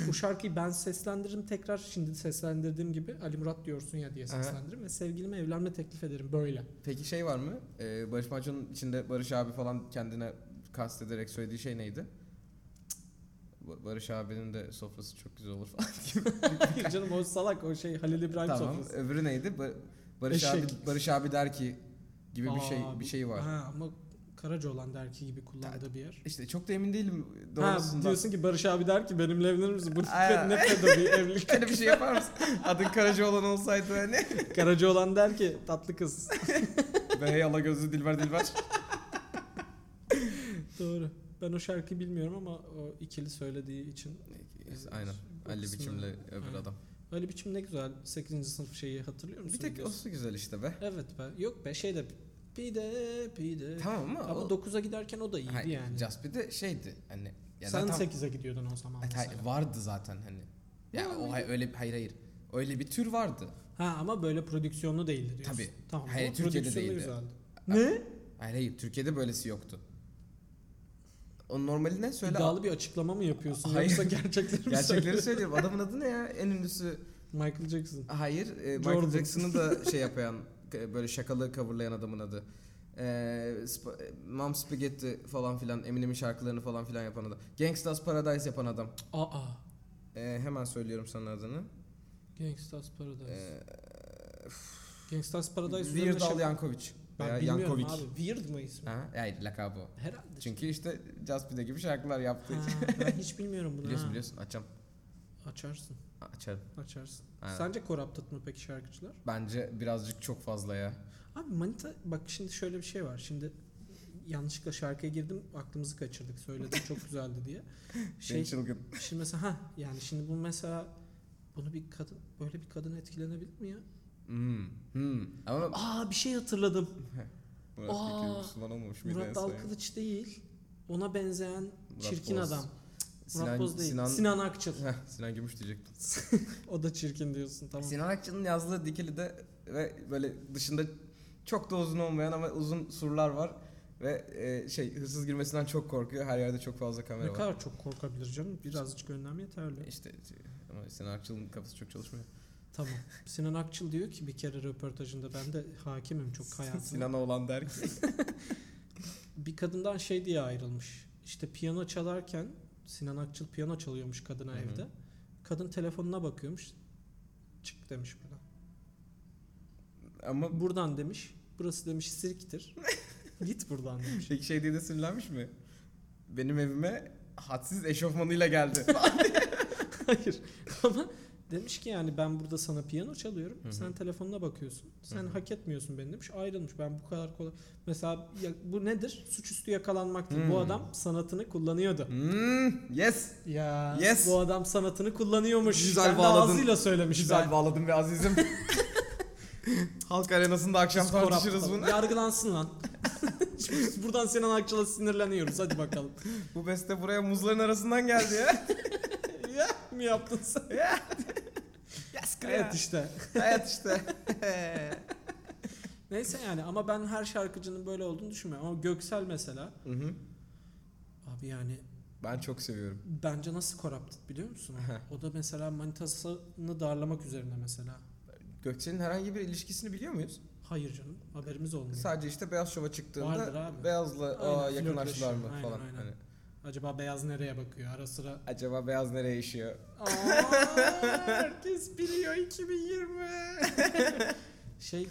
Speaker 2: Bu şarkıyı ben seslendiririm tekrar şimdi seslendirdiğim gibi Ali Murat diyorsun ya diye
Speaker 1: Aha.
Speaker 2: seslendiririm ve sevgilime evlenme teklif ederim böyle.
Speaker 1: [LAUGHS] Peki şey var mı? Ee, Barış Manço'nun içinde Barış abi falan kendine kastederek söylediği şey neydi? Ba- Barış abinin de sofrası çok güzel olur
Speaker 2: [LAUGHS]
Speaker 1: falan gibi.
Speaker 2: Hayır canım o salak o şey Halil İbrahim
Speaker 1: tamam.
Speaker 2: sofrası.
Speaker 1: Öbürü neydi? Ba- Barış
Speaker 2: Eşek.
Speaker 1: abi Barış abi der ki gibi bir şey
Speaker 2: Aa,
Speaker 1: bir şey var.
Speaker 2: Ha, ama Karacaoğlan derki gibi kullandığı bir yer.
Speaker 1: İşte çok da emin değilim
Speaker 2: Ha,
Speaker 1: doğrusundan. [LAUGHS]
Speaker 2: diyorsun ki Barış abi der ki benimle evlenir misin? Bu
Speaker 1: Aa.
Speaker 2: ne pedo bir
Speaker 1: [LAUGHS]
Speaker 2: evlilik.
Speaker 1: Öyle bir şey yapar mısın? Adın Karacaoğlan olsaydı
Speaker 2: [LAUGHS]
Speaker 1: hani.
Speaker 2: Karacaoğlan der ki tatlı kız.
Speaker 1: Ve hey Allah gözlü Dilber Dilber.
Speaker 2: Doğru. Ben o şarkıyı bilmiyorum ama o ikili söylediği için.
Speaker 1: Aynen.
Speaker 2: Bu
Speaker 1: Ali
Speaker 2: kısmını-
Speaker 1: biçimli öbür
Speaker 2: Aynen.
Speaker 1: adam.
Speaker 2: Ali biçim ne güzel 8. sınıf şeyi hatırlıyor musun?
Speaker 1: Bir tek o
Speaker 2: diyorsun?
Speaker 1: su güzel işte be.
Speaker 2: Evet be. Yok be şey de pide pide.
Speaker 1: Tamam ama,
Speaker 2: Ama
Speaker 1: o-
Speaker 2: 9'a giderken o da iyiydi
Speaker 1: Hayır,
Speaker 2: yani.
Speaker 1: Just bir de şeydi hani ya
Speaker 2: Sen
Speaker 1: zaten-
Speaker 2: 8'e gidiyordun o zaman
Speaker 1: Evet, hayır,
Speaker 2: mesela.
Speaker 1: vardı zaten hani. Ya o hay- öyle hayır hayır. Öyle bir tür vardı.
Speaker 2: Ha ama böyle prodüksiyonlu değildi diyorsun.
Speaker 1: Tabii.
Speaker 2: Tamam.
Speaker 1: Hayır,
Speaker 2: ama
Speaker 1: Türkiye'de
Speaker 2: prodüksiyonlu
Speaker 1: değildi.
Speaker 2: güzeldi.
Speaker 1: Ha,
Speaker 2: Ne?
Speaker 1: Hayır hayır Türkiye'de böylesi yoktu. O normali ne söyle?
Speaker 2: İddialı şey bir açıklama mı yapıyorsun?
Speaker 1: Hayır.
Speaker 2: Yoksa gerçekleri mi
Speaker 1: Gerçekleri
Speaker 2: söylüyorsun?
Speaker 1: söylüyorum. Adamın adı ne ya? En ünlüsü.
Speaker 2: Michael Jackson.
Speaker 1: Hayır, e,
Speaker 2: Jordan.
Speaker 1: Michael Jackson'ı da şey yapan e, böyle şakalı coverlayan adamın adı. E, Sp- e, Mom Spaghetti falan filan Eminem'in şarkılarını falan filan yapan adam. Gangsta's Paradise yapan adam.
Speaker 2: Aa.
Speaker 1: E, hemen söylüyorum sana adını.
Speaker 2: Gangsta's Paradise.
Speaker 1: E,
Speaker 2: Gangsta's Paradise üzerine
Speaker 1: Weird Al
Speaker 2: şaka-
Speaker 1: Yankovic.
Speaker 2: Ben
Speaker 1: Veya
Speaker 2: bilmiyorum
Speaker 1: Yankovic.
Speaker 2: abi. Weird mı ismi?
Speaker 1: Ha, hayır lakabı o.
Speaker 2: Herhalde.
Speaker 1: Çünkü işte Jaspide gibi şarkılar yaptığı
Speaker 2: Ha,
Speaker 1: için.
Speaker 2: ben hiç bilmiyorum bunu.
Speaker 1: biliyorsun
Speaker 2: ha.
Speaker 1: biliyorsun açam.
Speaker 2: Açarsın.
Speaker 1: Açarım.
Speaker 2: Açarsın.
Speaker 1: Aynen.
Speaker 2: Sence corrupted mı peki şarkıcılar?
Speaker 1: Bence birazcık çok fazla ya.
Speaker 2: Abi manita bak şimdi şöyle bir şey var. Şimdi yanlışlıkla şarkıya girdim aklımızı kaçırdık söyledim çok güzeldi
Speaker 1: [LAUGHS]
Speaker 2: diye.
Speaker 1: Şey,
Speaker 2: Şey
Speaker 1: çılgın.
Speaker 2: şimdi mesela ha yani şimdi bu mesela bunu bir kadın böyle bir kadın etkilenebilir mi ya?
Speaker 1: Hmm. Hmm. Ama
Speaker 2: Aa bir şey hatırladım.
Speaker 1: Murat
Speaker 2: Aa,
Speaker 1: Kekil Müslüman olmamış mıydı en
Speaker 2: ah. Murat
Speaker 1: son ya?
Speaker 2: Dalkılıç değil. Ona benzeyen
Speaker 1: Murat
Speaker 2: çirkin
Speaker 1: Boz.
Speaker 2: adam. Murat
Speaker 1: Sinan,
Speaker 2: Boz değil. Sinan,
Speaker 1: Sinan,
Speaker 2: Akçıl.
Speaker 1: Heh, Sinan Gümüş diyecektim.
Speaker 2: o da çirkin diyorsun tamam.
Speaker 1: Sinan Akçıl'ın yazdığı Dikili'de ve böyle dışında çok da uzun olmayan ama uzun surlar var. Ve e, şey hırsız girmesinden çok korkuyor. Her yerde çok fazla
Speaker 2: ne
Speaker 1: kamera var.
Speaker 2: kadar çok korkabilir canım. Birazcık önlem yeterli.
Speaker 1: İşte şey, ama Sinan Akçıl'ın kafası çok çalışmıyor.
Speaker 2: Tamam. Sinan Akçıl diyor ki bir kere röportajında ben de hakimim çok hayatıma.
Speaker 1: Sinan Oğlan
Speaker 2: [LAUGHS]
Speaker 1: der ki.
Speaker 2: Bir kadından şey diye ayrılmış. İşte piyano çalarken Sinan Akçıl piyano çalıyormuş kadına
Speaker 1: Hı hı.
Speaker 2: evde. Kadın telefonuna bakıyormuş. Çık demiş buradan.
Speaker 1: ama
Speaker 2: Buradan demiş. Burası demiş
Speaker 1: [LAUGHS]
Speaker 2: sirktir. Git buradan demiş.
Speaker 1: Peki şey diye de sinirlenmiş mi? Benim evime hadsiz eşofmanıyla geldi.
Speaker 2: Hayır. [LAUGHS] Ama Demiş ki yani ben burada sana piyano çalıyorum.
Speaker 1: Hı hı.
Speaker 2: Sen telefonuna bakıyorsun. Sen
Speaker 1: Hı hı.
Speaker 2: hak etmiyorsun beni demiş. Ayrılmış. Ben bu kadar kolay. Mesela ya- bu nedir? Suçüstü yakalanmaktır.
Speaker 1: Hmm.
Speaker 2: Bu adam sanatını kullanıyordu.
Speaker 1: [LAUGHS] Hmm, yes.
Speaker 2: Ya
Speaker 1: Yes.
Speaker 2: bu adam sanatını kullanıyormuş.
Speaker 1: Güzel
Speaker 2: Kendi
Speaker 1: bağladın.
Speaker 2: ağzıyla söylemiş.
Speaker 1: Güzel
Speaker 2: ben.
Speaker 1: şey bağladım be azizim. [LAUGHS] Halk arenasında akşam
Speaker 2: Skor
Speaker 1: tartışırız
Speaker 2: aptal.
Speaker 1: bunu.
Speaker 2: Yargılansın lan. [LAUGHS] Şimdi Buradan Sinan Akçıl'a sinirleniyoruz. Hadi bakalım.
Speaker 1: Bu beste buraya muzların arasından geldi [LAUGHS] ya.
Speaker 2: ya mi yaptın sen?
Speaker 1: yes
Speaker 2: Evet işte.
Speaker 1: [LAUGHS] Hayat işte.
Speaker 2: Neyse yani ama ben her şarkıcının böyle olduğunu düşünmüyorum. Ama Göksel mesela.
Speaker 1: Hı hı.
Speaker 2: Abi yani
Speaker 1: ben çok seviyorum.
Speaker 2: bence nasıl corrupted biliyor musun? o da mesela manitasını darlamak üzerine mesela.
Speaker 1: Gökçen'in herhangi bir ilişkisini biliyor muyuz?
Speaker 2: Hayır canım haberimiz olmuyor.
Speaker 1: Sadece işte Beyaz Şov'a
Speaker 2: Vardır
Speaker 1: çıktığında
Speaker 2: abi.
Speaker 1: Beyaz'la aa,
Speaker 2: Aynen,
Speaker 1: yakınlaştılar mı
Speaker 2: flörtleşiyor.
Speaker 1: falan.
Speaker 2: Aynen, aynen.
Speaker 1: Hani,
Speaker 2: Acaba beyaz nereye bakıyor ara sıra?
Speaker 1: acaba Beyaz nereye işiyor?
Speaker 2: Aa, herkes biliyor 2020. şey e,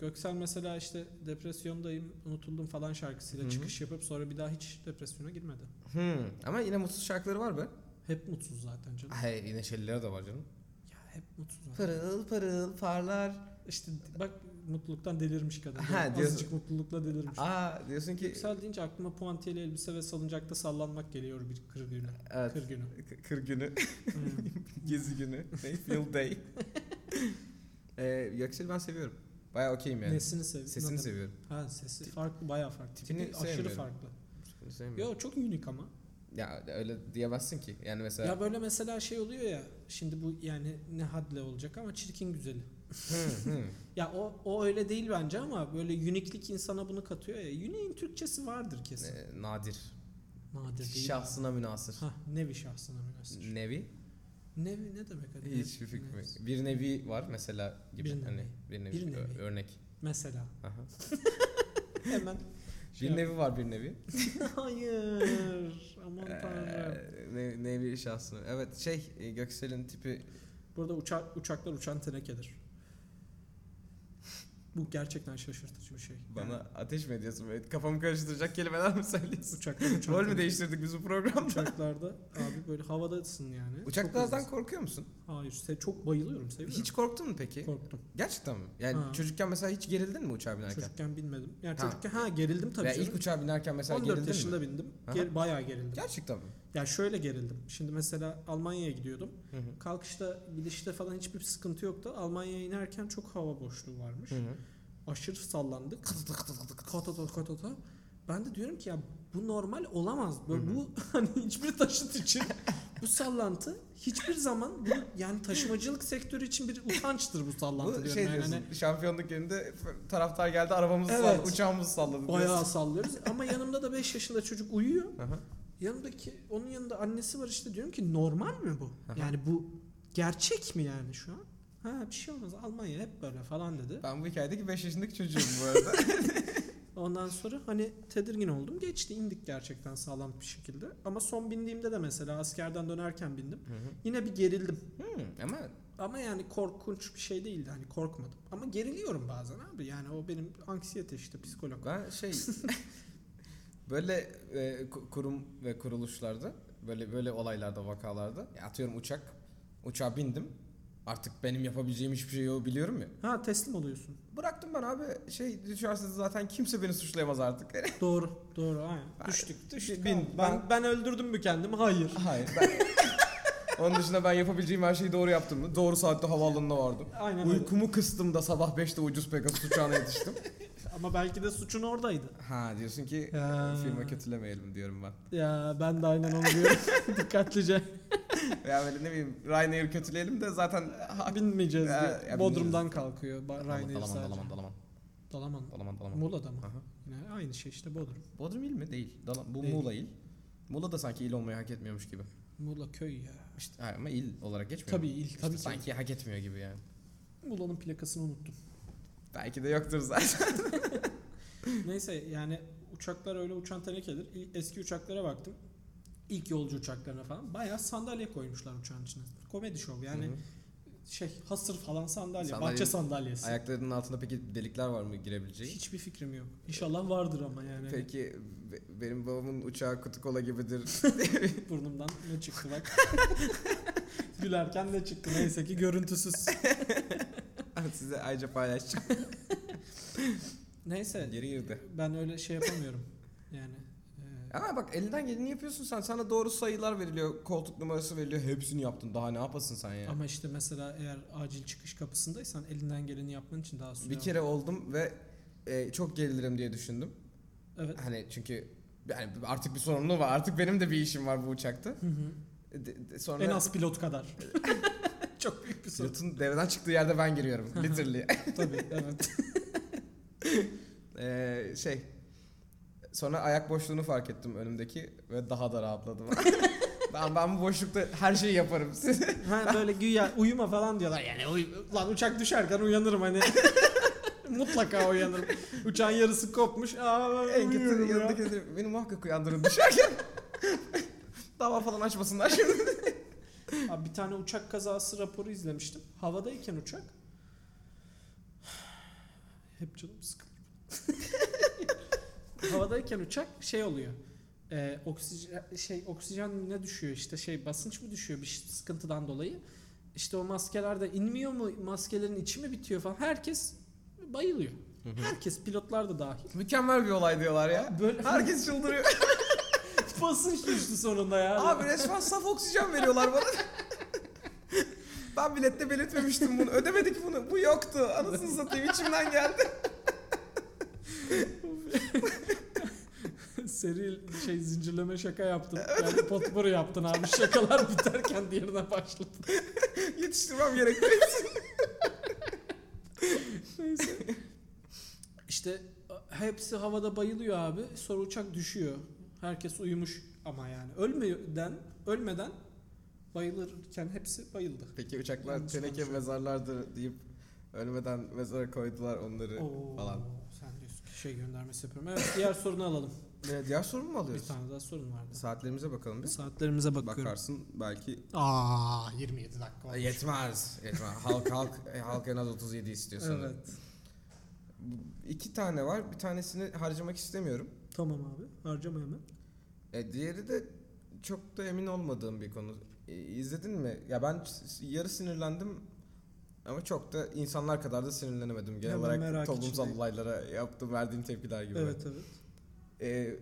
Speaker 2: Göksel mesela işte depresyondayım unutuldum falan şarkısıyla
Speaker 1: Hı hı.
Speaker 2: çıkış yapıp sonra bir daha hiç depresyona girmedi.
Speaker 1: Hmm. Ama yine mutsuz şarkıları var be.
Speaker 2: Hep mutsuz zaten canım.
Speaker 1: Hayır yine şeyleri de var canım.
Speaker 2: Ya hep mutsuz. zaten.
Speaker 1: Pırıl pırıl parlar.
Speaker 2: İşte bak mutluluktan delirmiş kadın.
Speaker 1: Ha,
Speaker 2: Azıcık
Speaker 1: diyorsun.
Speaker 2: mutlulukla delirmiş.
Speaker 1: Aa diyorsun ki
Speaker 2: Yüksel deyince aklıma puantiyeli elbise ve salıncakta sallanmak geliyor bir kır günü.
Speaker 1: evet,
Speaker 2: Kır günü.
Speaker 1: k- kır günü, [LAUGHS]
Speaker 2: [LAUGHS] Aynen.
Speaker 1: gezi günü, ne? yıl
Speaker 2: [LAUGHS]
Speaker 1: day. ee, Göksel'i ben seviyorum. Bayağı okeyim yani.
Speaker 2: Nesini seviyorsun?
Speaker 1: Sesini seviyorum.
Speaker 2: Ha sesi farklı bayağı farklı.
Speaker 1: Tipini
Speaker 2: Tipi aşırı
Speaker 1: sevmiyorum. Hmm.
Speaker 2: farklı.
Speaker 1: Sesini sevmiyorum.
Speaker 2: Yo çok unik ama.
Speaker 1: Ya öyle diyemezsin ki. Yani mesela
Speaker 2: Ya böyle mesela şey oluyor ya şimdi bu yani ne hadle olacak ama çirkin güzeli.
Speaker 1: Hı,
Speaker 2: [LAUGHS]
Speaker 1: hı.
Speaker 2: Ya o, o öyle değil bence ama böyle uniklik insana bunu katıyor ya. Unique'in Türkçesi vardır kesin.
Speaker 1: Ee, nadir.
Speaker 2: Nadir değil.
Speaker 1: Şahsına münasır.
Speaker 2: Ha nevi şahsına münasır.
Speaker 1: Nevi?
Speaker 2: Nevi ne demek? Hani
Speaker 1: Hmm. Hiçbir
Speaker 2: nev-
Speaker 1: fikrim yok.
Speaker 2: nev-
Speaker 1: Bir nevi var mesela gibi
Speaker 2: Bir
Speaker 1: hani
Speaker 2: nevi.
Speaker 1: bir nevi,
Speaker 2: Bir
Speaker 1: ö-
Speaker 2: nevi.
Speaker 1: örnek.
Speaker 2: Mesela.
Speaker 1: Aha.
Speaker 2: Hemen. [LAUGHS] şey
Speaker 1: Bir nevi var bir nevi.
Speaker 2: Hayır. Aman tanrım.
Speaker 1: Ee, ne- nevi şahsına. Evet şey e, Göksel'in tipi
Speaker 2: Burada uçak, uçaklar uçan tenekedir. Bu gerçekten şaşırtıcı bir şey. Yani
Speaker 1: bana ateş mi ediyorsun? Böyle Kafamı karıştıracak kelimeler mi söylüyorsun?
Speaker 2: uçaklar uçan
Speaker 1: Rol mü
Speaker 2: teneke-
Speaker 1: değiştirdik biz bu programda?
Speaker 2: Uçaklarda abi böyle havadasın yani.
Speaker 1: [LAUGHS]
Speaker 2: Çok
Speaker 1: Uçaklardan
Speaker 2: hızlısın.
Speaker 1: korkuyor musun?
Speaker 2: Hayır. Se çok bayılıyorum. Seviyorum.
Speaker 1: Hiç korktun mu peki?
Speaker 2: korktum.
Speaker 1: Gerçekten mi? Yani
Speaker 2: Ha.
Speaker 1: çocukken mesela hiç gerildin mi uçağa binerken?
Speaker 2: Çocukken binmedim. Yani
Speaker 1: Ha.
Speaker 2: çocukken ha gerildim tabii.
Speaker 1: Veya
Speaker 2: canım.
Speaker 1: ilk uçağa binerken mesela
Speaker 2: 14
Speaker 1: gerildin
Speaker 2: yaşında
Speaker 1: mi?
Speaker 2: bindim.
Speaker 1: Aha.
Speaker 2: Ger- bayağı gerildim. Ya
Speaker 1: Gerçekten mi?
Speaker 2: şöyle gerildim. Şimdi mesela Almanya'ya gidiyordum.
Speaker 1: Hı hı.
Speaker 2: Kalkışta, gidişte falan hiçbir sıkıntı yoktu. Almanya'ya inerken çok hava boşluğu varmış.
Speaker 1: Hı hı.
Speaker 2: aşırı sallandı. Katata katata katata. Ben de diyorum ki ya bu normal olamaz. Bu,
Speaker 1: Hı hı.
Speaker 2: bu [LAUGHS] hani hiçbir taşıt için bu sallantı hiçbir zaman bu yani taşımacılık sektörü için bir utançtır bu sallantı
Speaker 1: Bu
Speaker 2: diyorum.
Speaker 1: şey
Speaker 2: yani
Speaker 1: diyorsun,
Speaker 2: hani
Speaker 1: şampiyonluk yerinde taraftar geldi arabamızı
Speaker 2: Evet.
Speaker 1: salladı, uçağımızı salladı
Speaker 2: bayağı
Speaker 1: diyorsun.
Speaker 2: sallıyoruz ama yanımda da 5 yaşında çocuk uyuyor.
Speaker 1: Aha.
Speaker 2: Yanımdaki onun yanında annesi var işte diyorum ki normal mi bu?
Speaker 1: Aha.
Speaker 2: Yani bu gerçek mi yani şu an? Ha bir şey olmaz Almanya hep böyle falan dedi.
Speaker 1: Ben bu hikayedeki 5 yaşındaki çocuğum bu arada.
Speaker 2: Ondan sonra hani tedirgin oldum. Geçti indik gerçekten sağlam bir şekilde. Ama son bindiğimde de mesela askerden dönerken bindim.
Speaker 1: Hı hı.
Speaker 2: Yine bir gerildim.
Speaker 1: Hmm, ama
Speaker 2: Ama yani korkunç bir şey değildi. Hani korkmadım. Ama geriliyorum bazen abi. Yani o benim anksiyete işte psikolog.
Speaker 1: ben [LAUGHS] şey böyle e, ku- kurum ve kuruluşlarda böyle böyle olaylarda vakalarda ya atıyorum uçak uçağa bindim artık benim yapabileceğim hiçbir şey yok biliyorum ya.
Speaker 2: Ha teslim oluyorsun.
Speaker 1: Bıraktım ben abi şey düşerse zaten kimse beni suçlayamaz artık. [LAUGHS]
Speaker 2: doğru. Doğru. Aynen.
Speaker 1: Ben-
Speaker 2: düştük. Düştük.
Speaker 1: Bin-
Speaker 2: abi. ben, ben öldürdüm mü kendimi? Hayır.
Speaker 1: Hayır ben... [LAUGHS] Onun dışında ben yapabileceğim her şeyi doğru yaptım mı? Doğru saatte havaalanına vardım.
Speaker 2: Aynen öyle.
Speaker 1: Uykumu kıstım da sabah 5'te ucuz Pegasus uçağına [LAUGHS] yetiştim.
Speaker 2: Ama belki de suçun oradaydı.
Speaker 1: ha diyorsun ki
Speaker 2: Ya.
Speaker 1: firma kötülemeyelim diyorum ben.
Speaker 2: Ya ben de aynen onu
Speaker 1: [LAUGHS]
Speaker 2: diyorum. Dikkatlice
Speaker 1: Ya böyle ne bileyim Ryanair kötüleyelim de zaten ha-
Speaker 2: binmeyeceğiz
Speaker 1: Ya-
Speaker 2: diye.
Speaker 1: ya
Speaker 2: Bodrum'dan
Speaker 1: binmeyeceğiz.
Speaker 2: kalkıyor. Ba- Ryanair
Speaker 1: Dalaman,
Speaker 2: sadece.
Speaker 1: Dalaman, Dalaman,
Speaker 2: Dalaman.
Speaker 1: Dalaman, Dalaman.
Speaker 2: Muğla'da mı?
Speaker 1: Aha.
Speaker 2: Yine aynı şey işte Bodrum.
Speaker 1: Bodrum il mi? Değil. Dala- bu
Speaker 2: Değil.
Speaker 1: Muğla il. Muğla da sanki il olmayı hak etmiyormuş gibi.
Speaker 2: Muğla köy ya.
Speaker 1: İşte hayır, ama il olarak geçmiyor.
Speaker 2: Tabii
Speaker 1: mu?
Speaker 2: il,
Speaker 1: İşte
Speaker 2: tabii ki.
Speaker 1: sanki hak etmiyor gibi yani.
Speaker 2: Muğla'nın plakasını unuttum. [LAUGHS]
Speaker 1: Belki de yoktur zaten.
Speaker 2: Neyse yani uçaklar öyle uçan tenekedir. İl- Eski uçaklara baktım. İlk yolcu uçaklarına falan. Bayağı sandalye koymuşlar uçağın içine. Komedi şov yani
Speaker 1: Hı hı.
Speaker 2: şey hasır falan sandalye.
Speaker 1: Sandalye-
Speaker 2: bahçe sandalyesi.
Speaker 1: Ayaklarının altında peki delikler var mı girebileceği?
Speaker 2: Hiçbir fikrim yok. İnşallah vardır ama yani.
Speaker 1: Peki be-
Speaker 2: [LAUGHS]
Speaker 1: benim babamın uçağı kutu kola gibidir.
Speaker 2: Burnumdan ne çıktı bak. [LAUGHS] Gülerken de çıktı neyse ki görüntüsüz.
Speaker 1: [LAUGHS] Size ayrıca paylaşacağım.
Speaker 2: Neyse
Speaker 1: Geri girdi.
Speaker 2: ben öyle şey yapamıyorum. Yani e,
Speaker 1: Ama bak elinden geleni yapıyorsun sen. Sana doğru sayılar veriliyor. Koltuk numarası veriliyor. Hepsini yaptın. Daha ne yapasın sen ya?
Speaker 2: ama işte mesela eğer acil çıkış kapısındaysan elinden geleni yapman için daha süre
Speaker 1: bir
Speaker 2: var.
Speaker 1: kere oldum ve e, çok gerilirim diye düşündüm.
Speaker 2: Evet.
Speaker 1: Hani çünkü yani artık bir sorumluluğu var. Artık benim de bir işim var bu uçakta. E,
Speaker 2: Hı hı.
Speaker 1: De- de- sonra
Speaker 2: En az pilot kadar. [LAUGHS] Çok büyük bir sorun.
Speaker 1: pilotun devreden çıktığı yerde ben giriyorum. [LAUGHS] Literally.
Speaker 2: Tabii [LAUGHS] evet.
Speaker 1: E, şey sonra ayak boşluğunu fark ettim önümdeki ve daha da
Speaker 2: [LAUGHS]
Speaker 1: rahatladım. ben, ben bu boşlukta her şeyi yaparım.
Speaker 2: Ha, böyle güya uyuma falan diyorlar. Yani uy lan uçak düşerken uyanırım hani. [LAUGHS] Mutlaka uyanırım. Uçağın yarısı kopmuş. Aa,
Speaker 1: en kötü
Speaker 2: uyuyorum ya.
Speaker 1: yanındaki dedi, beni muhakkak uyandırın düşerken. [LAUGHS] Dava falan açmasınlar [LAUGHS] şimdi.
Speaker 2: Abi bir tane uçak kazası raporu izlemiştim. Havadayken uçak. [SIGHS] Hep canım sıkılıyor. [LAUGHS] Havadayken uçak şey oluyor. Ee, oksijen şey oksijen ne düşüyor işte şey basınç mı düşüyor bir şey- sıkıntıdan dolayı. İşte o maskeler de inmiyor mu? Maskelerin içi mi bitiyor falan. Herkes bayılıyor. Herkes pilotlar da dahil.
Speaker 1: Mükemmel bir olay diyorlar ya.
Speaker 2: Böyle [LAUGHS]
Speaker 1: Herkes çıldırıyor.
Speaker 2: basınç düştü sonunda ya.
Speaker 1: Abi resmen saf oksijen veriyorlar bana. [LAUGHS] ben bilette belirtmemiştim bunu. Ödemedik bunu. Bu yoktu. Anasını satayım içimden geldi. [LAUGHS]
Speaker 2: [LAUGHS] Seri şey zincirleme şaka yaptın. Yani potpourri yaptın abi. Şakalar biterken diğerine başladın.
Speaker 1: Yetiştirmem gerekti.
Speaker 2: Neyse. İşte hepsi havada bayılıyor abi. Sonra uçak düşüyor. Herkes uyumuş ama yani. Ölmeden, ölmeden bayılırken hepsi bayıldı.
Speaker 1: Peki uçaklar
Speaker 2: Yanlış
Speaker 1: teneke
Speaker 2: konuşuyorum.
Speaker 1: mezarlardır deyip ölmeden mezara koydular onları
Speaker 2: Oo,
Speaker 1: falan.
Speaker 2: Sen diyorsun ki şey göndermesi yapıyorum. Evet diğer
Speaker 1: [LAUGHS]
Speaker 2: sorunu alalım.
Speaker 1: Ne, diğer sorumu mu
Speaker 2: Bir
Speaker 1: alıyoruz?
Speaker 2: tane daha sorun vardı.
Speaker 1: Saatlerimize bakalım biz.
Speaker 2: Saatlerimize bakıyorum.
Speaker 1: Bakarsın belki
Speaker 2: Aa 27 dakika olmuş.
Speaker 1: yetmez. Yetmez. halk halk e, halk en az 37 istiyor sanırım.
Speaker 2: Evet.
Speaker 1: İki tane var. Bir tanesini harcamak istemiyorum.
Speaker 2: Tamam abi. Harcama hemen.
Speaker 1: E, diğeri de çok da emin olmadığım bir konu. E, izledin mi? Ya ben s- s- yarı sinirlendim ama çok da insanlar kadar da sinirlenemedim. Genel
Speaker 2: Hemen merak
Speaker 1: olarak toplumsal
Speaker 2: içindeyim.
Speaker 1: olaylara yaptığım verdiğim tepkiler gibi.
Speaker 2: Evet evet.
Speaker 1: E,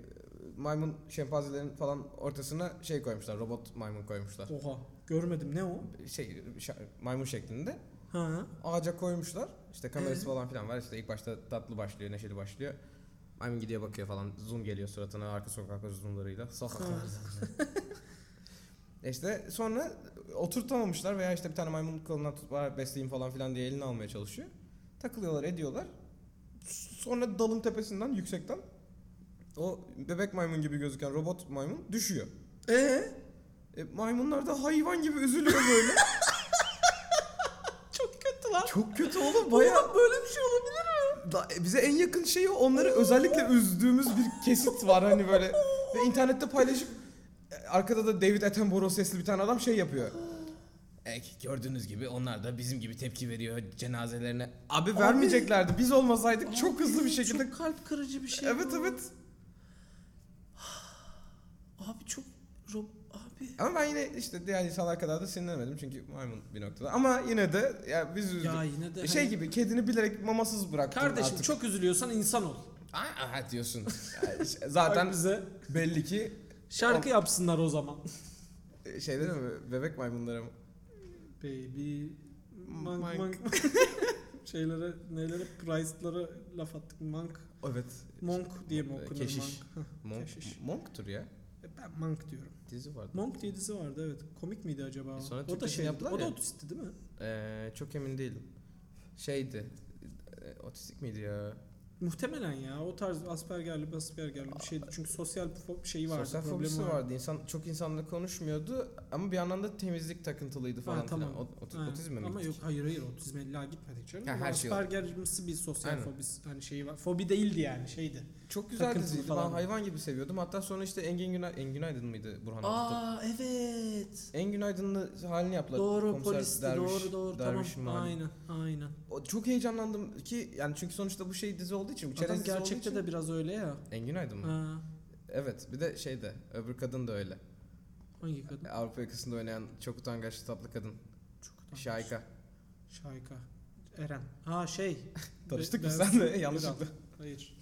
Speaker 1: maymun şempanzelerin falan ortasına şey koymuşlar. Robot maymun koymuşlar.
Speaker 2: Oha. Görmedim. Ne o?
Speaker 1: Şey şa- maymun şeklinde.
Speaker 2: Ha.
Speaker 1: Ağaca koymuşlar. İşte kamerası
Speaker 2: Ee?
Speaker 1: falan filan var. İşte ilk başta tatlı başlıyor, neşeli başlıyor. Maymun gidiyor bakıyor falan. Zoom geliyor suratına arka sokaklar zoomlarıyla. [LAUGHS] Sokaklar. işte sonra oturtamamışlar veya işte bir tane maymun kolundan tutup "Aa, besleyin falan filan diye elini almaya çalışıyor. Takılıyorlar ediyorlar. Sonra dalın tepesinden yüksekten o bebek maymun gibi gözüken robot maymun düşüyor.
Speaker 2: Ee?
Speaker 1: E, maymunlar da hayvan gibi üzülüyor böyle.
Speaker 2: Çok kötü lan.
Speaker 1: [LAUGHS] Çok kötü oğlum bayağı.
Speaker 2: böyle bir şey olabilir mi?
Speaker 1: Da- e, bize en yakın şeyi onları özellikle üzdüğümüz bir kesit var hani böyle. Ve internette paylaşıp e, arkada da David Attenborough sesli bir tane adam şey yapıyor. E, gördüğünüz gibi onlar da bizim gibi tepki veriyor cenazelerine. Abi, vermeyeceklerdi. Biz olmasaydık çok hızlı bir şekilde.
Speaker 2: Çok kalp kırıcı bir şey.
Speaker 1: Evet
Speaker 2: bu.
Speaker 1: evet.
Speaker 2: Abi çok Rob abi.
Speaker 1: Ama ben yine işte diğer insanlar kadar da sinirlenmedim çünkü maymun bir noktada. Ama yine de ya biz üzdük.
Speaker 2: Ya yine de
Speaker 1: şey
Speaker 2: hani-
Speaker 1: gibi kedini bilerek mamasız bıraktın
Speaker 2: Kardeşim
Speaker 1: artık.
Speaker 2: çok üzülüyorsan insan ol.
Speaker 1: Aa, aha diyorsun.
Speaker 2: Zaten
Speaker 1: Zaten
Speaker 2: bize
Speaker 1: belli ki
Speaker 2: şarkı yapsınlar o zaman.
Speaker 1: E, Şey değil mi? Bebek maymunları mı?
Speaker 2: Baby monk
Speaker 1: Monk.
Speaker 2: monk. [LAUGHS] şeylere nelere price'lara laf attık monk.
Speaker 1: Evet.
Speaker 2: Monk diye mi okunur
Speaker 1: Keşiş.
Speaker 2: monk?
Speaker 1: Monk, E,
Speaker 2: Keşiş.
Speaker 1: Monk'tur ya.
Speaker 2: Heh, Ben monk diyorum.
Speaker 1: Dizi vardı.
Speaker 2: Monk diye dizi vardı evet. Komik miydi acaba? o?
Speaker 1: E sonra
Speaker 2: o da
Speaker 1: Türkçesini
Speaker 2: şey
Speaker 1: yaptılar
Speaker 2: O da
Speaker 1: ya.
Speaker 2: otistti değil mi?
Speaker 1: Ee, çok emin değilim. Şeydi. e, Otistik miydi ya?
Speaker 2: Muhtemelen ya o tarz aspergerli aspergerli bir şeydi. Çünkü sosyal fo- şeyi vardı.
Speaker 1: Sosyal
Speaker 2: problemi
Speaker 1: fobisi vardı. İnsan çok insanla konuşmuyordu ama bir yandan da temizlik takıntılıydı
Speaker 2: Ha,
Speaker 1: falan.
Speaker 2: tamam.
Speaker 1: filan. O- ot-
Speaker 2: Ha,
Speaker 1: Otizme mi
Speaker 2: Ama
Speaker 1: gittik?
Speaker 2: yok hayır hayır otizme illa gitmedik canım.
Speaker 1: Ha,
Speaker 2: Ama
Speaker 1: her şey oldu.
Speaker 2: asperger'ımsı bir sosyal
Speaker 1: Aynen.
Speaker 2: fobisi hani şeyi var. Fobi değildi yani şeydi.
Speaker 1: Çok güzel
Speaker 2: Takıntılı
Speaker 1: diziydi.
Speaker 2: falan.
Speaker 1: Ben hayvan gibi seviyordum. Hatta sonra işte Engin Günay... Engin Aydın mıydı Burhan Altun?
Speaker 2: evet.
Speaker 1: Engin Aydın'ın halini yaptılar.
Speaker 2: Doğru
Speaker 1: Komiser
Speaker 2: polisti
Speaker 1: Derviş-
Speaker 2: doğru doğru
Speaker 1: Derviş
Speaker 2: tamam
Speaker 1: Mali.
Speaker 2: aynen aynen.
Speaker 1: O- Çok heyecanlandım ki yani çünkü sonuçta bu şey dizi olduğu için. bu çerez
Speaker 2: Adam
Speaker 1: dizi olduğu
Speaker 2: gerçekte
Speaker 1: için-
Speaker 2: de biraz öyle ya.
Speaker 1: Engin Aydın mı?
Speaker 2: Ha.
Speaker 1: Evet bir de şey de öbür kadın da öyle.
Speaker 2: Hangi kadın?
Speaker 1: Avrupa yakasında oynayan çok utangaçlı tatlı kadın.
Speaker 2: Çok utangaç.
Speaker 1: Şayka. [LAUGHS]
Speaker 2: Şayka. Eren. Ha şey.
Speaker 1: Tanıştık
Speaker 2: ben-
Speaker 1: biz
Speaker 2: [LAUGHS]
Speaker 1: senle yanlışlıkla.
Speaker 2: Hayır.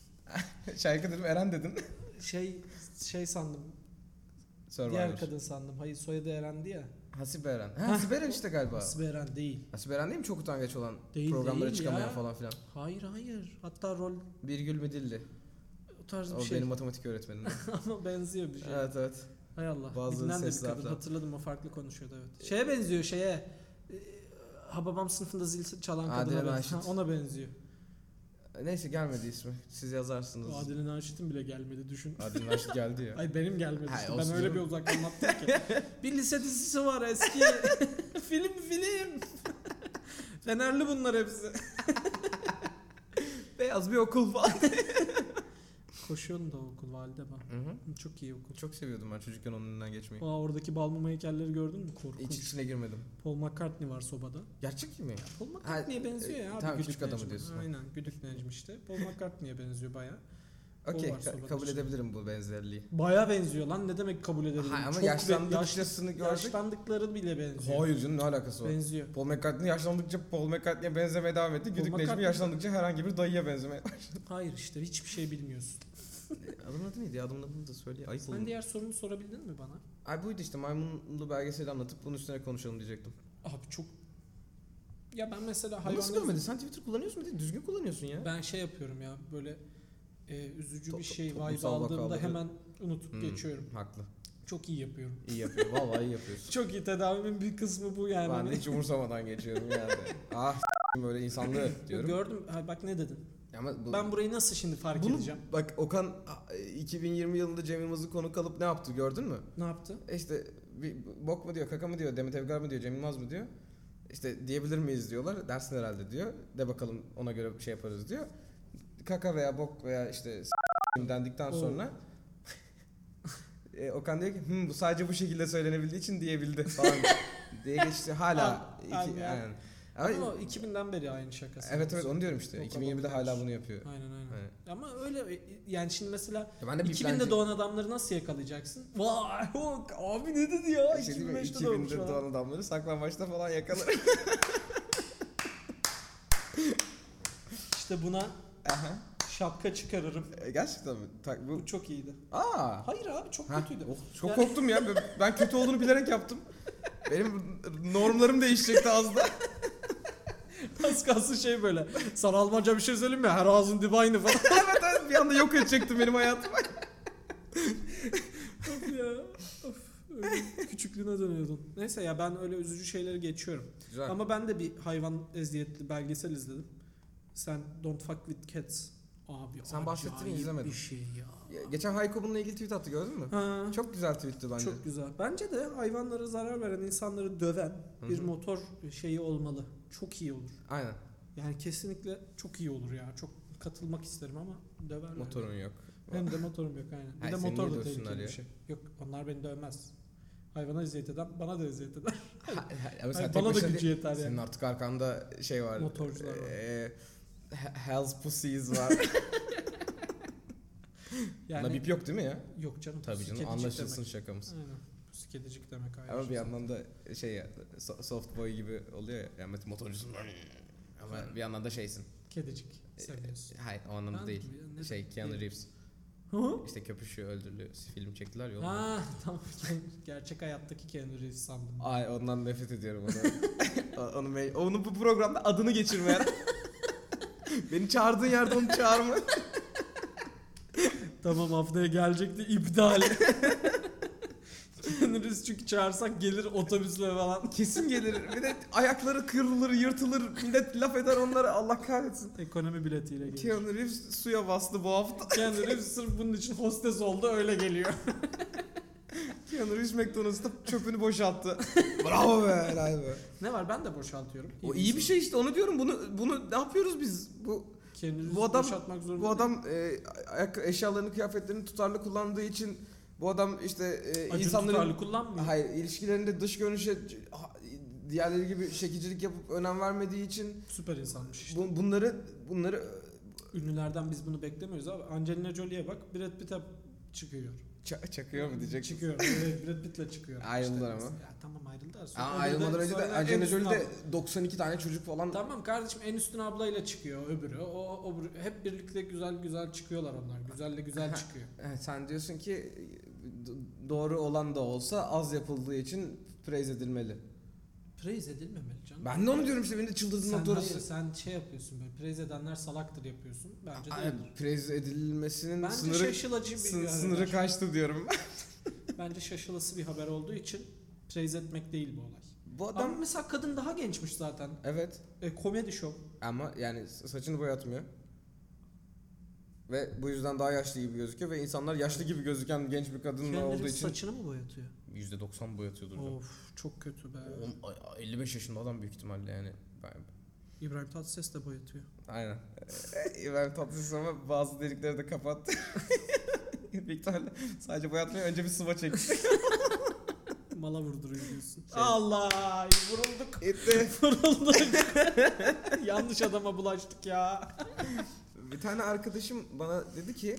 Speaker 1: Şayka dedim Eren dedin.
Speaker 2: Şey şey sandım. Diğer
Speaker 1: Survivor.
Speaker 2: kadın sandım. Hayır soyadı Eren'di ya.
Speaker 1: Hasibe Eren. Ha,
Speaker 2: Hah.
Speaker 1: Hasibe Eren işte galiba.
Speaker 2: Hasibe Eren değil.
Speaker 1: Hasibe Eren değil mi çok utangaç olan?
Speaker 2: Değil,
Speaker 1: programlara
Speaker 2: değil
Speaker 1: çıkamayan
Speaker 2: ya.
Speaker 1: falan filan.
Speaker 2: Hayır hayır. Hatta rol
Speaker 1: Birgül Midilli.
Speaker 2: o tarz
Speaker 1: O
Speaker 2: bir şey.
Speaker 1: benim matematik öğretmenim.
Speaker 2: [LAUGHS] Ama benziyor bir şey.
Speaker 1: evet evet.
Speaker 2: Hay Allah.
Speaker 1: Bazı
Speaker 2: Bilinen de bir
Speaker 1: seslerden.
Speaker 2: kadın. Hatırladım o farklı konuşuyordu evet. Şeye benziyor şeye. Ee, Hababam sınıfında zil çalan
Speaker 1: Adile
Speaker 2: kadına
Speaker 1: Naşit.
Speaker 2: benziyor. Ha, [LAUGHS] ona benziyor.
Speaker 1: Neyse gelmedi ismi. Siz yazarsınız.
Speaker 2: O Adile Naşit'in bile gelmedi düşün.
Speaker 1: Adil Naşit geldi
Speaker 2: [LAUGHS]
Speaker 1: ya.
Speaker 2: Ay benim gelmedi
Speaker 1: Hay,
Speaker 2: işte. Ben
Speaker 1: olsun
Speaker 2: öyle bir
Speaker 1: canım.
Speaker 2: uzak anlattım
Speaker 1: [LAUGHS]
Speaker 2: ki. bir lise dizisi var eski. [LAUGHS] film film. [LAUGHS] Fenerli bunlar hepsi.
Speaker 1: [LAUGHS] Beyaz bir okul
Speaker 2: [LAUGHS]
Speaker 1: var.
Speaker 2: Koşuyordum da o okul valide bak. Çok iyi okul.
Speaker 1: Çok seviyordum ben çocukken onun önünden geçmeyi.
Speaker 2: Aa, oradaki balmum heykelleri gördün mü? Korkunç.
Speaker 1: Hiç içine girmedim.
Speaker 2: Paul McCartney var sobada.
Speaker 1: Gerçek mi?
Speaker 2: Paul McCartney'e
Speaker 1: Ha,
Speaker 2: benziyor
Speaker 1: e,
Speaker 2: ya abi.
Speaker 1: tamam,
Speaker 2: Güdük
Speaker 1: küçük adamı
Speaker 2: Necmi.
Speaker 1: diyorsun.
Speaker 2: Aynen güdük Necmi işte.
Speaker 1: [LAUGHS]
Speaker 2: Paul McCartney'e benziyor baya.
Speaker 1: Okey
Speaker 2: O var
Speaker 1: ka-
Speaker 2: sobada
Speaker 1: kabul
Speaker 2: işte.
Speaker 1: edebilirim bu benzerliği.
Speaker 2: Baya benziyor lan ne demek kabul edelim.
Speaker 1: Ha, ama
Speaker 2: Çok be- yaş-
Speaker 1: yaşlandıkçasını gördük.
Speaker 2: yaşlandıkları bile benziyor.
Speaker 1: Hayır canım ne alakası var?
Speaker 2: Benziyor.
Speaker 1: Paul McCartney yaşlandıkça Paul McCartney'e benzemeye devam etti.
Speaker 2: Paul
Speaker 1: Güdük Necmi
Speaker 2: McCartney-
Speaker 1: yaşlandıkça herhangi bir dayıya benzemeye.
Speaker 2: Hayır işte hiçbir şey bilmiyorsun.
Speaker 1: [LAUGHS] Adamın adı neydi? ya? Adamın adını da söyle. Ayıp
Speaker 2: Sen diğer sorunu sorabildin mi bana?
Speaker 1: Ay buydu işte maymunlu belgeseli anlatıp bunun üstüne konuşalım diyecektim.
Speaker 2: Abi çok... Ya ben mesela
Speaker 1: Hayvan nasıl
Speaker 2: hayvanları...
Speaker 1: görmedin? Sen Twitter kullanıyorsun bir de düzgün kullanıyorsun ya.
Speaker 2: Ben şey yapıyorum ya böyle e, üzücü
Speaker 1: To-
Speaker 2: bir
Speaker 1: to-
Speaker 2: şey vibe
Speaker 1: toplumsal
Speaker 2: aldığımda
Speaker 1: vakaları-
Speaker 2: hemen unutup
Speaker 1: Hmm,
Speaker 2: geçiyorum.
Speaker 1: Haklı.
Speaker 2: Çok iyi yapıyorum. [LAUGHS]
Speaker 1: İyi yapıyor. Vallahi iyi yapıyorsun.
Speaker 2: Çok iyi tedavimin bir kısmı bu
Speaker 1: [LAUGHS]
Speaker 2: yani.
Speaker 1: ben de hiç umursamadan geçiyorum yani. ah s**tim böyle insanlığı diyorum.
Speaker 2: Gördüm. Ha, bak ne dedin?
Speaker 1: Ama bu,
Speaker 2: Ben burayı nasıl şimdi fark
Speaker 1: bunu
Speaker 2: edeceğim?
Speaker 1: bak Okan a- 2020 yılında Cem Yılmaz'ı konuk alıp ne yaptı gördün mü?
Speaker 2: Ne yaptı?
Speaker 1: E İşte bir bok mu diyor, kaka mı diyor, Demet Evgar mı diyor, Cem Yılmaz mı diyor. İşte diyebilir miyiz diyorlar. Dersin herhalde diyor. De bakalım ona göre bir şey yaparız diyor. Kaka veya bok veya işte s**tim dendikten
Speaker 2: Oo.
Speaker 1: sonra [LAUGHS] e, Okan diyor ki "Hmm, bu sadece bu şekilde söylenebildiği için diyebildi falan [LAUGHS] diye geçti. Hala
Speaker 2: Al-
Speaker 1: iki,
Speaker 2: al ya.
Speaker 1: Ah, aynen. Ama-
Speaker 2: Ama o 2000'den beri aynı şakası.
Speaker 1: evet evet onu diyorum işte.
Speaker 2: Okan
Speaker 1: 2020'de
Speaker 2: Okan
Speaker 1: hala
Speaker 2: olmuş.
Speaker 1: bunu yapıyor.
Speaker 2: Aynen aynen.
Speaker 1: Aynen.
Speaker 2: Ama öyle e, yani şimdi mesela
Speaker 1: [LAUGHS] Ya ben de bir
Speaker 2: 2000'de
Speaker 1: plancı-
Speaker 2: doğan adamları nasıl yakalayacaksın? Vay yok abi ne dedi ya?
Speaker 1: Şey değil mi?
Speaker 2: 2005'te doğmuş
Speaker 1: 2000'de
Speaker 2: falan.
Speaker 1: doğan adamları saklambaçta falan yakalar.
Speaker 2: İşte buna
Speaker 1: [LAUGHS] Aha.
Speaker 2: şapka çıkarırım.
Speaker 1: E, Gerçekten mi? Tak, bu...
Speaker 2: Bu çok iyiydi.
Speaker 1: Aa.
Speaker 2: Hayır abi çok
Speaker 1: Heh,
Speaker 2: kötüydü.
Speaker 1: oh, çok
Speaker 2: Ya-
Speaker 1: korktum ya. Ben- Ben kötü olduğunu bilerek yaptım. Benim normlarım değişecekti az da. oh.
Speaker 2: [LAUGHS] Az kalsın şey böyle. Sana Almanca bir şey söyleyeyim mi? Her ağzın dibi aynı
Speaker 1: [LAUGHS]
Speaker 2: falan.
Speaker 1: evet evet bir anda yok edecektim benim hayatımı.
Speaker 2: of ya. Of. Öyle küçüklüğüne dönüyordun. Neyse ya ben öyle üzücü şeyleri geçiyorum.
Speaker 1: Güzel.
Speaker 2: Ama ben de bir hayvan eziyetli belgesel izledim. Sen Don't Fuck With Cats. Abi
Speaker 1: Sen bahsettin,
Speaker 2: acayip
Speaker 1: izlemedim.
Speaker 2: bir şey ya.
Speaker 1: Geçen Hayko bununla ilgili tweet attı gördün mü?
Speaker 2: Ha, çok,
Speaker 1: Çok güzel tweetti bence.
Speaker 2: güzel. Bence de hayvanlara zarar veren insanları döven
Speaker 1: Hı
Speaker 2: bir
Speaker 1: hı.
Speaker 2: motor şeyi olmalı. Çok iyi olur.
Speaker 1: Aynen.
Speaker 2: Yani kesinlikle çok iyi olur ya. Çok katılmak isterim ama döverler.
Speaker 1: Motorun yok.
Speaker 2: Hem de motorum yok aynen. Bir
Speaker 1: Hayır,
Speaker 2: de
Speaker 1: seni
Speaker 2: motor
Speaker 1: niye
Speaker 2: da
Speaker 1: dövsünler
Speaker 2: tehlikeli
Speaker 1: ya?
Speaker 2: bir şey. Yok onlar beni dövmez. Hayvana eziyet eden bana da eziyet eder.
Speaker 1: Ha- ha- Ama
Speaker 2: Hayır,
Speaker 1: sen tek
Speaker 2: bana da
Speaker 1: başına
Speaker 2: gücü
Speaker 1: değil.
Speaker 2: yeter
Speaker 1: Senin
Speaker 2: yani.
Speaker 1: artık arkanda şey var.
Speaker 2: Motorcular var.
Speaker 1: Ee, he- Hell's Pussies var. Buna
Speaker 2: [LAUGHS] Yani
Speaker 1: bip yok değil mi ya?
Speaker 2: yok canım.
Speaker 1: Tabii canım
Speaker 2: sikecik
Speaker 1: anlaşılsın
Speaker 2: demek.
Speaker 1: şakamız.
Speaker 2: Aynen. Puskedicik demek ayrı.
Speaker 1: Ama bir
Speaker 2: şey.
Speaker 1: yandan da şey ya so- soft boy gibi oluyor ya. Yani motorcusun. Ama bir yandan da şeysin.
Speaker 2: Kedicik seviyorsun.
Speaker 1: Hayır o anlamda
Speaker 2: Ben-
Speaker 1: e, değil.
Speaker 2: ne-
Speaker 1: Şey Keanu
Speaker 2: değil.
Speaker 1: Reeves
Speaker 2: Hı?
Speaker 1: işte köpüşü öldürdü film çektiler ya. ondan.
Speaker 2: Ha [LAUGHS] tamam. Gerçek hayattaki Keanu Reeves sandım.
Speaker 1: Ay ondan nefret ediyorum onu. [LAUGHS] O- onu, me- onu bu programda adını geçirme. [LAUGHS] Beni çağırdığın yerde onu çağırma.
Speaker 2: tamam haftaya gelecekti iptal. Keanu Reeves çünkü çağırsak gelir otobüsle
Speaker 1: [LAUGHS]
Speaker 2: falan.
Speaker 1: Kesin gelir. Bir de ayakları kırılır, yırtılır. Millet laf eder onlara Allah kahretsin.
Speaker 2: Ekonomi biletiyle gelir.
Speaker 1: Keanu Reeves suya bastı bu hafta.
Speaker 2: Keanu Reeves sırf bunun için hostes oldu öyle geliyor.
Speaker 1: Keanu Reeves McDonald's'ta çöpünü [LAUGHS] boşalttı. Bravo be helal be.
Speaker 2: ne var ben de boşaltıyorum.
Speaker 1: O iyi bir
Speaker 2: misin?
Speaker 1: şey işte onu diyorum. Bunu bunu ne yapıyoruz biz? Bu
Speaker 2: Keanu Reeves'i
Speaker 1: Bu adam-
Speaker 2: boşaltmak zorunda
Speaker 1: Bu adam e, ayak- eşyalarını, kıyafetlerini tutarlı kullandığı için bu adam işte e,
Speaker 2: değil. Acun
Speaker 1: insanların
Speaker 2: tutarlı kullanmıyor.
Speaker 1: hayır ilişkilerinde dış görünüşe c- ha- diğerleri gibi şekilcilik yapıp önem vermediği için
Speaker 2: Süper insanmış işte.
Speaker 1: bu- bunları bunları e,
Speaker 2: Ünlülerden biz bunu beklemiyoruz abi. Angelina Jolie'ye bak Brad Pitt'e çıkıyor.
Speaker 1: Ça- çakıyor mu diyecek.
Speaker 2: Çıkıyor. Evet, Brad Pitt'le çıkıyor.
Speaker 1: Ayrıldılar
Speaker 2: İşte,
Speaker 1: ama.
Speaker 2: Ya, tamam ayrıldılar. Sonra
Speaker 1: Aa,
Speaker 2: öbürü de-
Speaker 1: ayrılmadan önce
Speaker 2: sonra
Speaker 1: de Angelina
Speaker 2: en üstün
Speaker 1: Jolie'de 92 tane çocuk falan.
Speaker 2: abla- Tamam kardeşim en üstün ablayla çıkıyor öbürü. O, o hep birlikte güzel güzel çıkıyorlar onlar. Güzelle güzel
Speaker 1: Aha.
Speaker 2: çıkıyor.
Speaker 1: Evet, sen diyorsun ki e, do- doğru olan da olsa az yapıldığı için praise edilmeli.
Speaker 2: Praise edilmemeli canım.
Speaker 1: Ben de onu diyorum işte beni de çıldırdığın
Speaker 2: sen,
Speaker 1: nokta
Speaker 2: hayır,
Speaker 1: orası.
Speaker 2: sen şey yapıyorsun böyle praise edenler salaktır yapıyorsun. Bence de.
Speaker 1: Ay, Praise edilmesinin
Speaker 2: Bence şey
Speaker 1: sınırı
Speaker 2: şaşılacı bir
Speaker 1: sın-
Speaker 2: haber.
Speaker 1: sınırı kaçtı diyorum.
Speaker 2: Bence şaşılası bir haber olduğu için praise etmek değil bu olay.
Speaker 1: Bu
Speaker 2: Adam
Speaker 1: adam
Speaker 2: mesela kadın daha gençmiş zaten.
Speaker 1: evet
Speaker 2: E, komedi şov.
Speaker 1: ama yani sa- saçını boyatmıyor. Ve bu yüzden daha yaşlı gibi gözüküyor ve insanlar yaşlı gibi gözüken genç bir kadınla olduğu
Speaker 2: Kendileri
Speaker 1: için
Speaker 2: saçını mı boyatıyor?
Speaker 1: %90 boyatıyordur. da.
Speaker 2: Of çok kötü be.
Speaker 1: On- ay- ay, 55 yaşında adam büyük ihtimalle yani. Ben-
Speaker 2: İbrahim Tatlıses de boyatıyor.
Speaker 1: Aynen. Ee, ben tatlısız ama bazı delikleri de kapattı. [LAUGHS] Büyük ihtimalle sadece boyatmayı önce bir sıva çekti.
Speaker 2: Mala vurduruyor diyorsun.
Speaker 1: Şey-
Speaker 2: Allah
Speaker 1: [LAUGHS]
Speaker 2: vurulduk.
Speaker 1: Etti.
Speaker 2: [LAUGHS] Vurulduk. Yanlış adama bulaştık ya.
Speaker 1: Bir tane arkadaşım bana dedi ki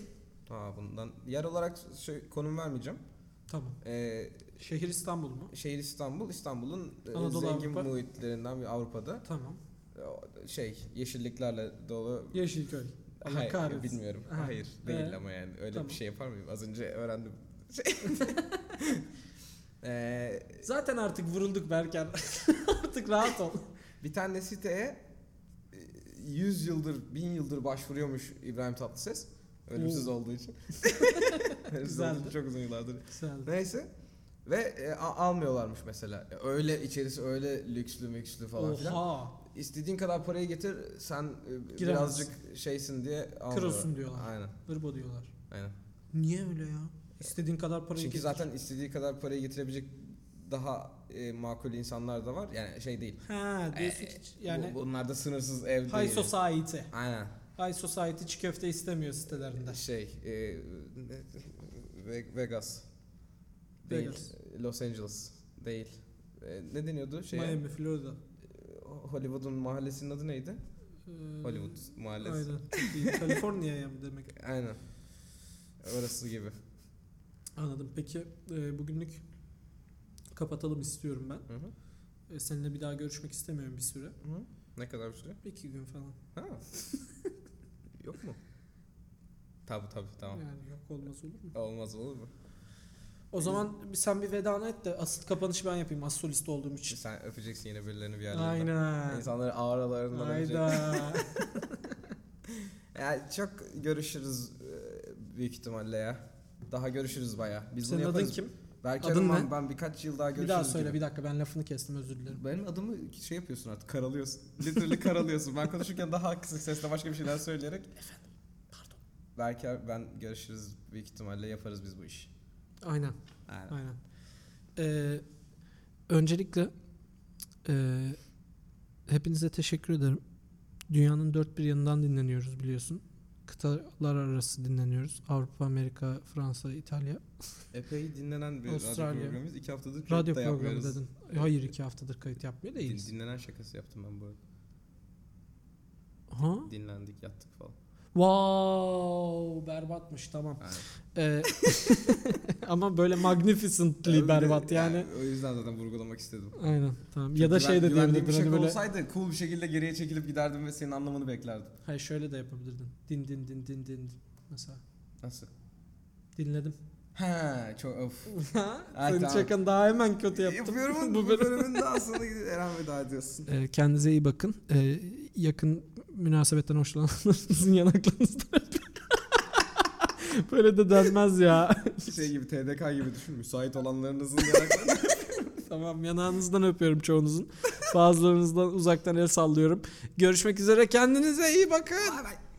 Speaker 1: Aa bundan yer olarak şey, konum vermeyeceğim.
Speaker 2: Tamam.
Speaker 1: Ee,
Speaker 2: Şehir İstanbul mu?
Speaker 1: şehir İstanbul, İstanbul'un e,
Speaker 2: Anadolu,
Speaker 1: zengin
Speaker 2: Avrupa.
Speaker 1: muhitlerinden bir Avrupa'da.
Speaker 2: Tamam.
Speaker 1: E, o- Şey, yeşilliklerle dolu.
Speaker 2: Yeşilköy. Allah
Speaker 1: Hayır,
Speaker 2: kahretsin.
Speaker 1: bilmiyorum.
Speaker 2: Aha.
Speaker 1: Hayır, değil
Speaker 2: Ee?
Speaker 1: ama yani öyle
Speaker 2: Tamam.
Speaker 1: bir şey yapar mıyım? Az önce öğrendim.
Speaker 2: [LAUGHS]
Speaker 1: Eee
Speaker 2: Zaten artık vurulduk Berker. [LAUGHS] artık rahat ol.
Speaker 1: Bir tane siteye e, 100 yıldır, 1000 yıldır başvuruyormuş İbrahim Tatlıses. Ölümsüz
Speaker 2: Oo.
Speaker 1: olduğu
Speaker 2: [LAUGHS]
Speaker 1: için. Ölümsüz olduğu için
Speaker 2: Güzeldi.
Speaker 1: Çok uzun yıllardır.
Speaker 2: Güzel.
Speaker 1: Neyse. Ve e, a- almıyorlarmış mesela. E, Öyle içerisi öyle lükslü mükslü falan filan.
Speaker 2: Oha.
Speaker 1: İstediğin kadar parayı getir sen e, birazcık şeysin diye almıyorlar.
Speaker 2: Kırılsın diyorlar.
Speaker 1: Aynen.
Speaker 2: Hırbo diyorlar.
Speaker 1: Aynen.
Speaker 2: Niye öyle ya? İstediğin kadar parayı
Speaker 1: Çünkü
Speaker 2: getir.
Speaker 1: zaten istediği kadar parayı getirebilecek daha e, makul insanlar da var. Yani şey değil.
Speaker 2: Ha diyorsun ki yani
Speaker 1: Bu- bunlar da sınırsız ev
Speaker 2: High
Speaker 1: değil.
Speaker 2: Society.
Speaker 1: Aynen.
Speaker 2: High Society çiğ köfte istemiyor sitelerinde.
Speaker 1: Şey, e, Ve- Vegas. Değil.
Speaker 2: Vegas.
Speaker 1: Los Angeles. Değil. E, ne deniyordu? Şey,
Speaker 2: Miami, Florida.
Speaker 1: Hollywood'un mahallesinin adı neydi?
Speaker 2: Ee,
Speaker 1: Hollywood mahallesi.
Speaker 2: Aynen.
Speaker 1: [LAUGHS]
Speaker 2: Çok iyi. Kaliforniya'ya mı demek?
Speaker 1: Aynen. Orası gibi.
Speaker 2: Anladım. Peki e, bugünlük kapatalım istiyorum ben.
Speaker 1: Hı hı.
Speaker 2: E, seninle bir daha görüşmek istemiyorum bir süre.
Speaker 1: Hı. Ne kadar bir süre?
Speaker 2: İki gün falan. [LAUGHS]
Speaker 1: Ha. Yok mu? Tabi tabi tamam.
Speaker 2: Yani yok olmaz olur mu?
Speaker 1: Olmaz olur mu?
Speaker 2: O zaman bir- sen bir vedanı et de asıl kapanışı ben yapayım. As solist olduğum için.
Speaker 1: Sen öpeceksin yine birilerini bir yerlerden.
Speaker 2: Aynen.
Speaker 1: İnsanları ağralarından
Speaker 2: [LAUGHS]
Speaker 1: öpeceksin.
Speaker 2: Hayda.
Speaker 1: Ya çok görüşürüz e, büyük ihtimalle ya. Daha görüşürüz baya. Biz
Speaker 2: Senin
Speaker 1: bunu
Speaker 2: adın
Speaker 1: yaparız.
Speaker 2: kim?
Speaker 1: Belki
Speaker 2: Adın
Speaker 1: aramam,
Speaker 2: ne?
Speaker 1: ben birkaç yıl daha görüşürüz.
Speaker 2: Bir daha söyle
Speaker 1: gibi.
Speaker 2: bir dakika ben lafını kestim özür dilerim.
Speaker 1: Benim adımı şey yapıyorsun artık karalıyorsun. Literally karalıyorsun. Ben konuşurken daha kısık sesle başka bir şeyler söyleyerek. Efendim
Speaker 2: pardon.
Speaker 1: Belki ben görüşürüz büyük ihtimalle yaparız biz bu işi.
Speaker 2: Aynen
Speaker 1: Aynen.
Speaker 2: aynen. Ee, öncelikle e, hepinize teşekkür ederim. Dünyanın dört bir yanından dinleniyoruz biliyorsun. Kıtalar arası dinleniyoruz. Avrupa, Amerika, Fransa, İtalya.
Speaker 1: Epey dinlenen bir radyo
Speaker 2: Avustralya.
Speaker 1: programımız. İki haftadır
Speaker 2: Radyo
Speaker 1: kayıt da
Speaker 2: programı
Speaker 1: yapmıyoruz.
Speaker 2: dedin. E, Hayır iki haftadır kayıt yapmıyor
Speaker 1: Din-
Speaker 2: değiliz.
Speaker 1: dinlenen şakası yaptım ben bu arada.
Speaker 2: Ha?
Speaker 1: Dinlendik yattık falan.
Speaker 2: Wow berbatmış tamam. [LAUGHS]
Speaker 1: Aynen.
Speaker 2: Ee, ama böyle magnificently berbat yani.
Speaker 1: O yüzden zaten vurgulamak istedim.
Speaker 2: Aynen tamam. Ya da şey de
Speaker 1: diyebilirdin.
Speaker 2: diyebilirdin.
Speaker 1: Bir
Speaker 2: hani
Speaker 1: şaka
Speaker 2: böyle-
Speaker 1: olsaydı cool bir şekilde geriye çekilip giderdim ve senin anlamanı beklerdim.
Speaker 2: Hayır şöyle de yapabilirdin. Din din din din din mesela.
Speaker 1: Nasıl?
Speaker 2: [LAUGHS] Dinledim.
Speaker 1: He çok of. Ay,
Speaker 2: Senin
Speaker 1: tamam.
Speaker 2: çakan daha hemen kötü yaptım. [LAUGHS]
Speaker 1: Yapıyorum bu
Speaker 2: bölüm.
Speaker 1: bölümün daha sonra gidip Eren veda
Speaker 2: [LAUGHS]
Speaker 1: ediyorsun.
Speaker 2: Ee, kendinize iyi bakın. Ee, yakın münasebetten hoşlananlarınızın [LAUGHS] yanaklarınızda [LAUGHS] Böyle de denmez ya. [LAUGHS]
Speaker 1: Şey gibi TDK gibi düşün. Müsait olanlarınızın yanaklarını.
Speaker 2: tamam yanağınızdan öpüyorum çoğunuzun. Bazılarınızdan uzaktan el sallıyorum. Görüşmek üzere. Kendinize iyi bakın.
Speaker 1: Bay bay.